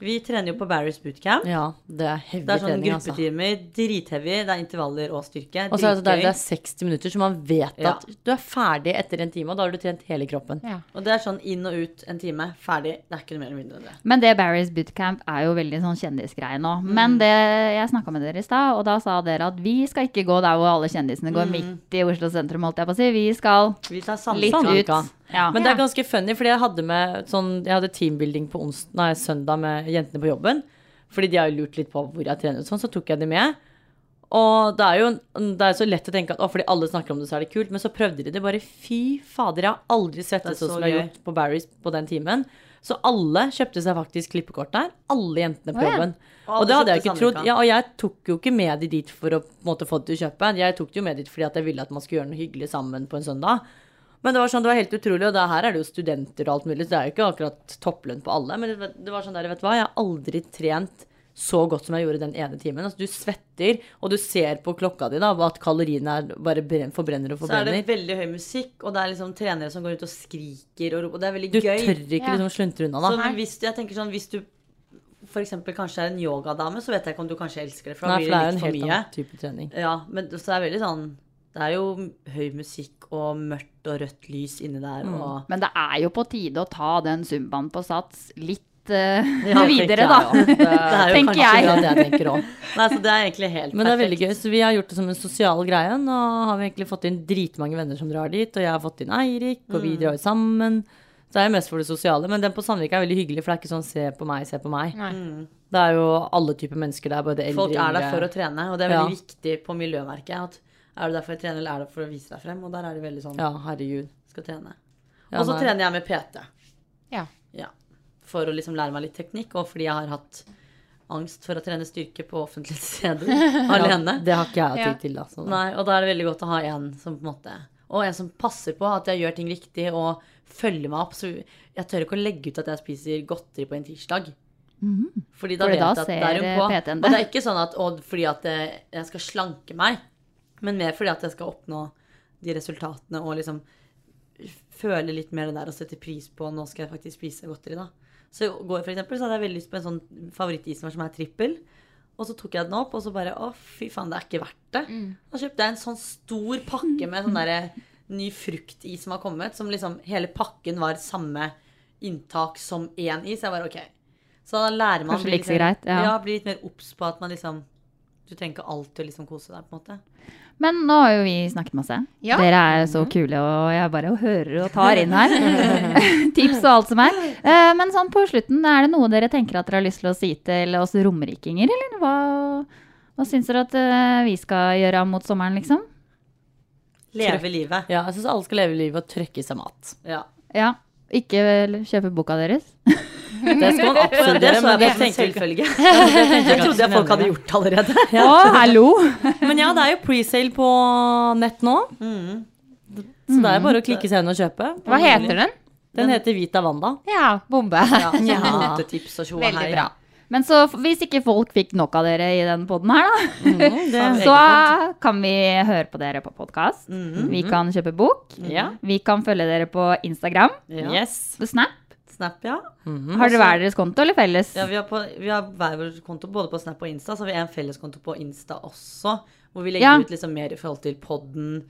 Vi trener jo på Barry's bootcamp. Ja, det er heavy Det er sånn trening, altså. gruppetimer, drithevig. Det er intervaller og styrke. Og så er det, der, dritgøy. det er 60 minutter, så man vet Ja. at du er ferdig etter en time, og da har du trent hele kroppen. Ja. Og det er sånn inn og ut en time, ferdig. Det er ikke noe mer eller mindre enn det. Men det Barry's bootcamp er jo veldig sånn kjendisgreie nå. Men det, jeg snakka med dere i stad, og da sa dere at vi skal ikke gå der hvor alle kjendisene går midt i Oslo sentrum, holdt jeg på å si. Vi skal Vi tar samtale. litt ut. Sandvika. Ja. Men det er ganske funny, fordi jeg hadde, med sånn, jeg hadde teambuilding på ons- nei, søndag med jentene på jobben. Fordi de har jo lurt litt på hvor jeg trener, og sånn, så tok jeg de med. Og det er jo det er så lett å tenke at å, fordi alle snakker om det, så er det kult. Men så prøvde de det. Bare fy fader, jeg har aldri Det er svettet sånn så som jeg har gøy. gjort på Barry's på den timen. Så alle kjøpte seg faktisk klippekort der. Alle jentene Å, på ja. jobben. Og Og, alle det hadde jeg kjøpte ikke trodd. Sandvika. Ja, og jeg tok jo ikke med de dit for å på en måte, få de til å kjøpe. Jeg tok de jo med dit fordi at jeg ville at man skulle gjøre noe hyggelig sammen på en søndag. Men det var sånn, det var helt utrolig, og det her er det jo studenter og alt mulig, så det er jo ikke akkurat topplønn på alle. Men det, var- det var sånn der, vet du hva, jeg har aldri trent så godt som jeg gjorde den ene timen. Altså, du svetter, og du ser på klokka di da, at kaloriene er bare bren- forbrenner og Så er det forbrenner. veldig høy musikk, og det er liksom trenere som går ut og skriker og roper. Og det er veldig Du gøy. tør ikke Ja. liksom sluntre unna da. Så hvis, jeg tenker sånn, hvis du for eksempel kanskje er en yogadame, så vet jeg ikke om du kanskje elsker det, for da Nei, for blir det er det jo en litt for helt mye. annen type trening. Ja, men så det er veldig sånn Det er jo høy musikk og mørkt og rødt lys inni der Mm. og Men det er jo på tide å ta den zumbaen på sats litt eh, Ja, videre, da. tenker jeg, ja. Det er jo Tenker kanskje jeg. Det er det jeg tenker også. Nei, så det er egentlig helt Men det er veldig perfekt. gøy, så vi har gjort det som en sosial greie. Nå har vi egentlig fått inn dritmange venner som drar dit, og jeg har fått inn Eirik, og Mm. vi drar jo sammen. Så det er jo mest for det sosiale, men den på Sandvika er veldig hyggelig, for det er ikke sånn se på meg, se på meg. Nei. Det er jo alle typer mennesker der, både eldre Folk er der yngre. for å trene, og det er veldig Ja. viktig på miljøverket. At er du der for å trene, eller er du der for å vise deg frem? Og der er det veldig sånn Ja, herregud. skal trene. Ja, og så nei. trener jeg med PT. Ja. Ja. For å liksom lære meg litt teknikk, og fordi jeg har hatt angst for å trene styrke på offentlige steder alene. Det har ikke jeg tid til, altså. Nei, og da er det veldig godt å ha en som på en måte Og en som passer på at jeg gjør ting riktig og følger meg opp. Så jeg tør ikke å legge ut at jeg spiser godteri på en tirsdag. Fordi da Mhm. Fordi vet da jeg at der er ser, hun eh, på. PT-en Og det. det er ikke sånn at å, fordi at eh, jeg skal slanke meg, men mer fordi at jeg skal oppnå de resultatene og liksom føle litt mer det der og sette pris på nå skal jeg faktisk spise godteri, da. Så i går for eksempel så hadde jeg veldig lyst på en sånn favorittismer som er trippel. Og så tok jeg den opp, og så bare Å, fy faen, det er ikke verdt det. Da kjøpte jeg en sånn stor pakke med sånn derre ny fruktis som har kommet, som liksom Hele pakken var samme inntak som én is. Jeg bare OK. Så da lærer man Kanskje blir like så litt- greit, ja. ja, blir litt mer obs på at man liksom Du trenger ikke alltid å liksom kose deg, på en måte. Men nå har jo vi snakket masse. Ja. Dere er så kule, og jeg bare hører og tar inn her. Tips og alt som er. Eh, Men sånn på slutten, er det noe dere tenker at dere har lyst til å si til oss romerikinger, eller hva, hva syns dere at eh, vi skal gjøre mot sommeren, liksom? Leve livet. Ja, jeg syns alle skal leve livet og trøkke i seg mat. Ja. Ja. Ikke vel kjøpe boka deres? Det skal man absolutt Det så gjøre, jeg på men som en det tenker ikke selvfølge. Jeg Det trodde jeg folk hadde gjort allerede. Å, hallo! Men ja, det er jo presale på nett nå. Så det er Mm. bare å klikke seg inn og kjøpe. Hva heter den? Den heter Vita Wanda. Ja, bombe. Ja. Motetips og tjo og Veldig hei. bra. Men så f- hvis ikke folk fikk nok av dere i den poden her, da, det- så kan vi høre på dere på podkast. Mm-hmm. Vi kan kjøpe bok. Vi kan følge dere på Instagram, Ja. Yes. på Snap. Snap, ja. Har dere hver deres konto eller felles? Ja, vi har, på, vi har hver vår konto både på Snap og Insta, så har vi en felleskonto på Insta også. Hvor vi legger Ja. ut liksom mer i forhold til podden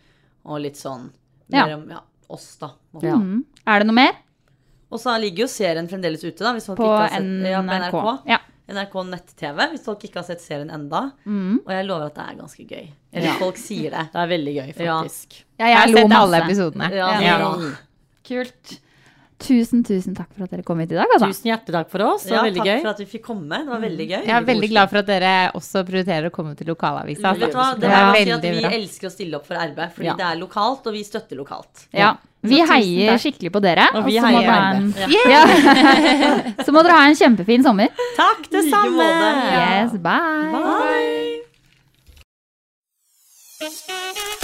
og litt sånn Ja. mer om ja, oss, da. på en måte. Mhm. Er det noe mer? Og så ligger jo serien fremdeles ute, da. Hvis folk På ikke har sett, ja, på NRK. NRK. Ja. NRK nett-TV, hvis folk ikke har sett serien enda. Mm-hmm. Og jeg lover at det er ganske gøy. Eller folk sier det. Det er veldig gøy, Ja. faktisk. Ja, Jeg har lo sett alle masse. episodene. Ja, Ja. så- Kult. Tusen, tusen takk for at dere kom hit i dag. Altså. Tusen hjertelig takk for oss. Det var Ja, veldig takk gøy. for at vi fikk komme. Det var veldig Mm. gøy. Jeg er veldig glad for at dere også prioriterer å komme til lokalavisa. Vet du hva? Det Det er er si at veldig vi bra. elsker å stille opp for arbeid, fordi Ja. det er lokalt, og vi støtter lokalt. Ja. Vi tusen heier takk. skikkelig på dere. Og vi så må heier dere ha en- Ja. Så må dere ha en kjempefin sommer. Takk, det I like samme. måte. Yes, bye. Bye.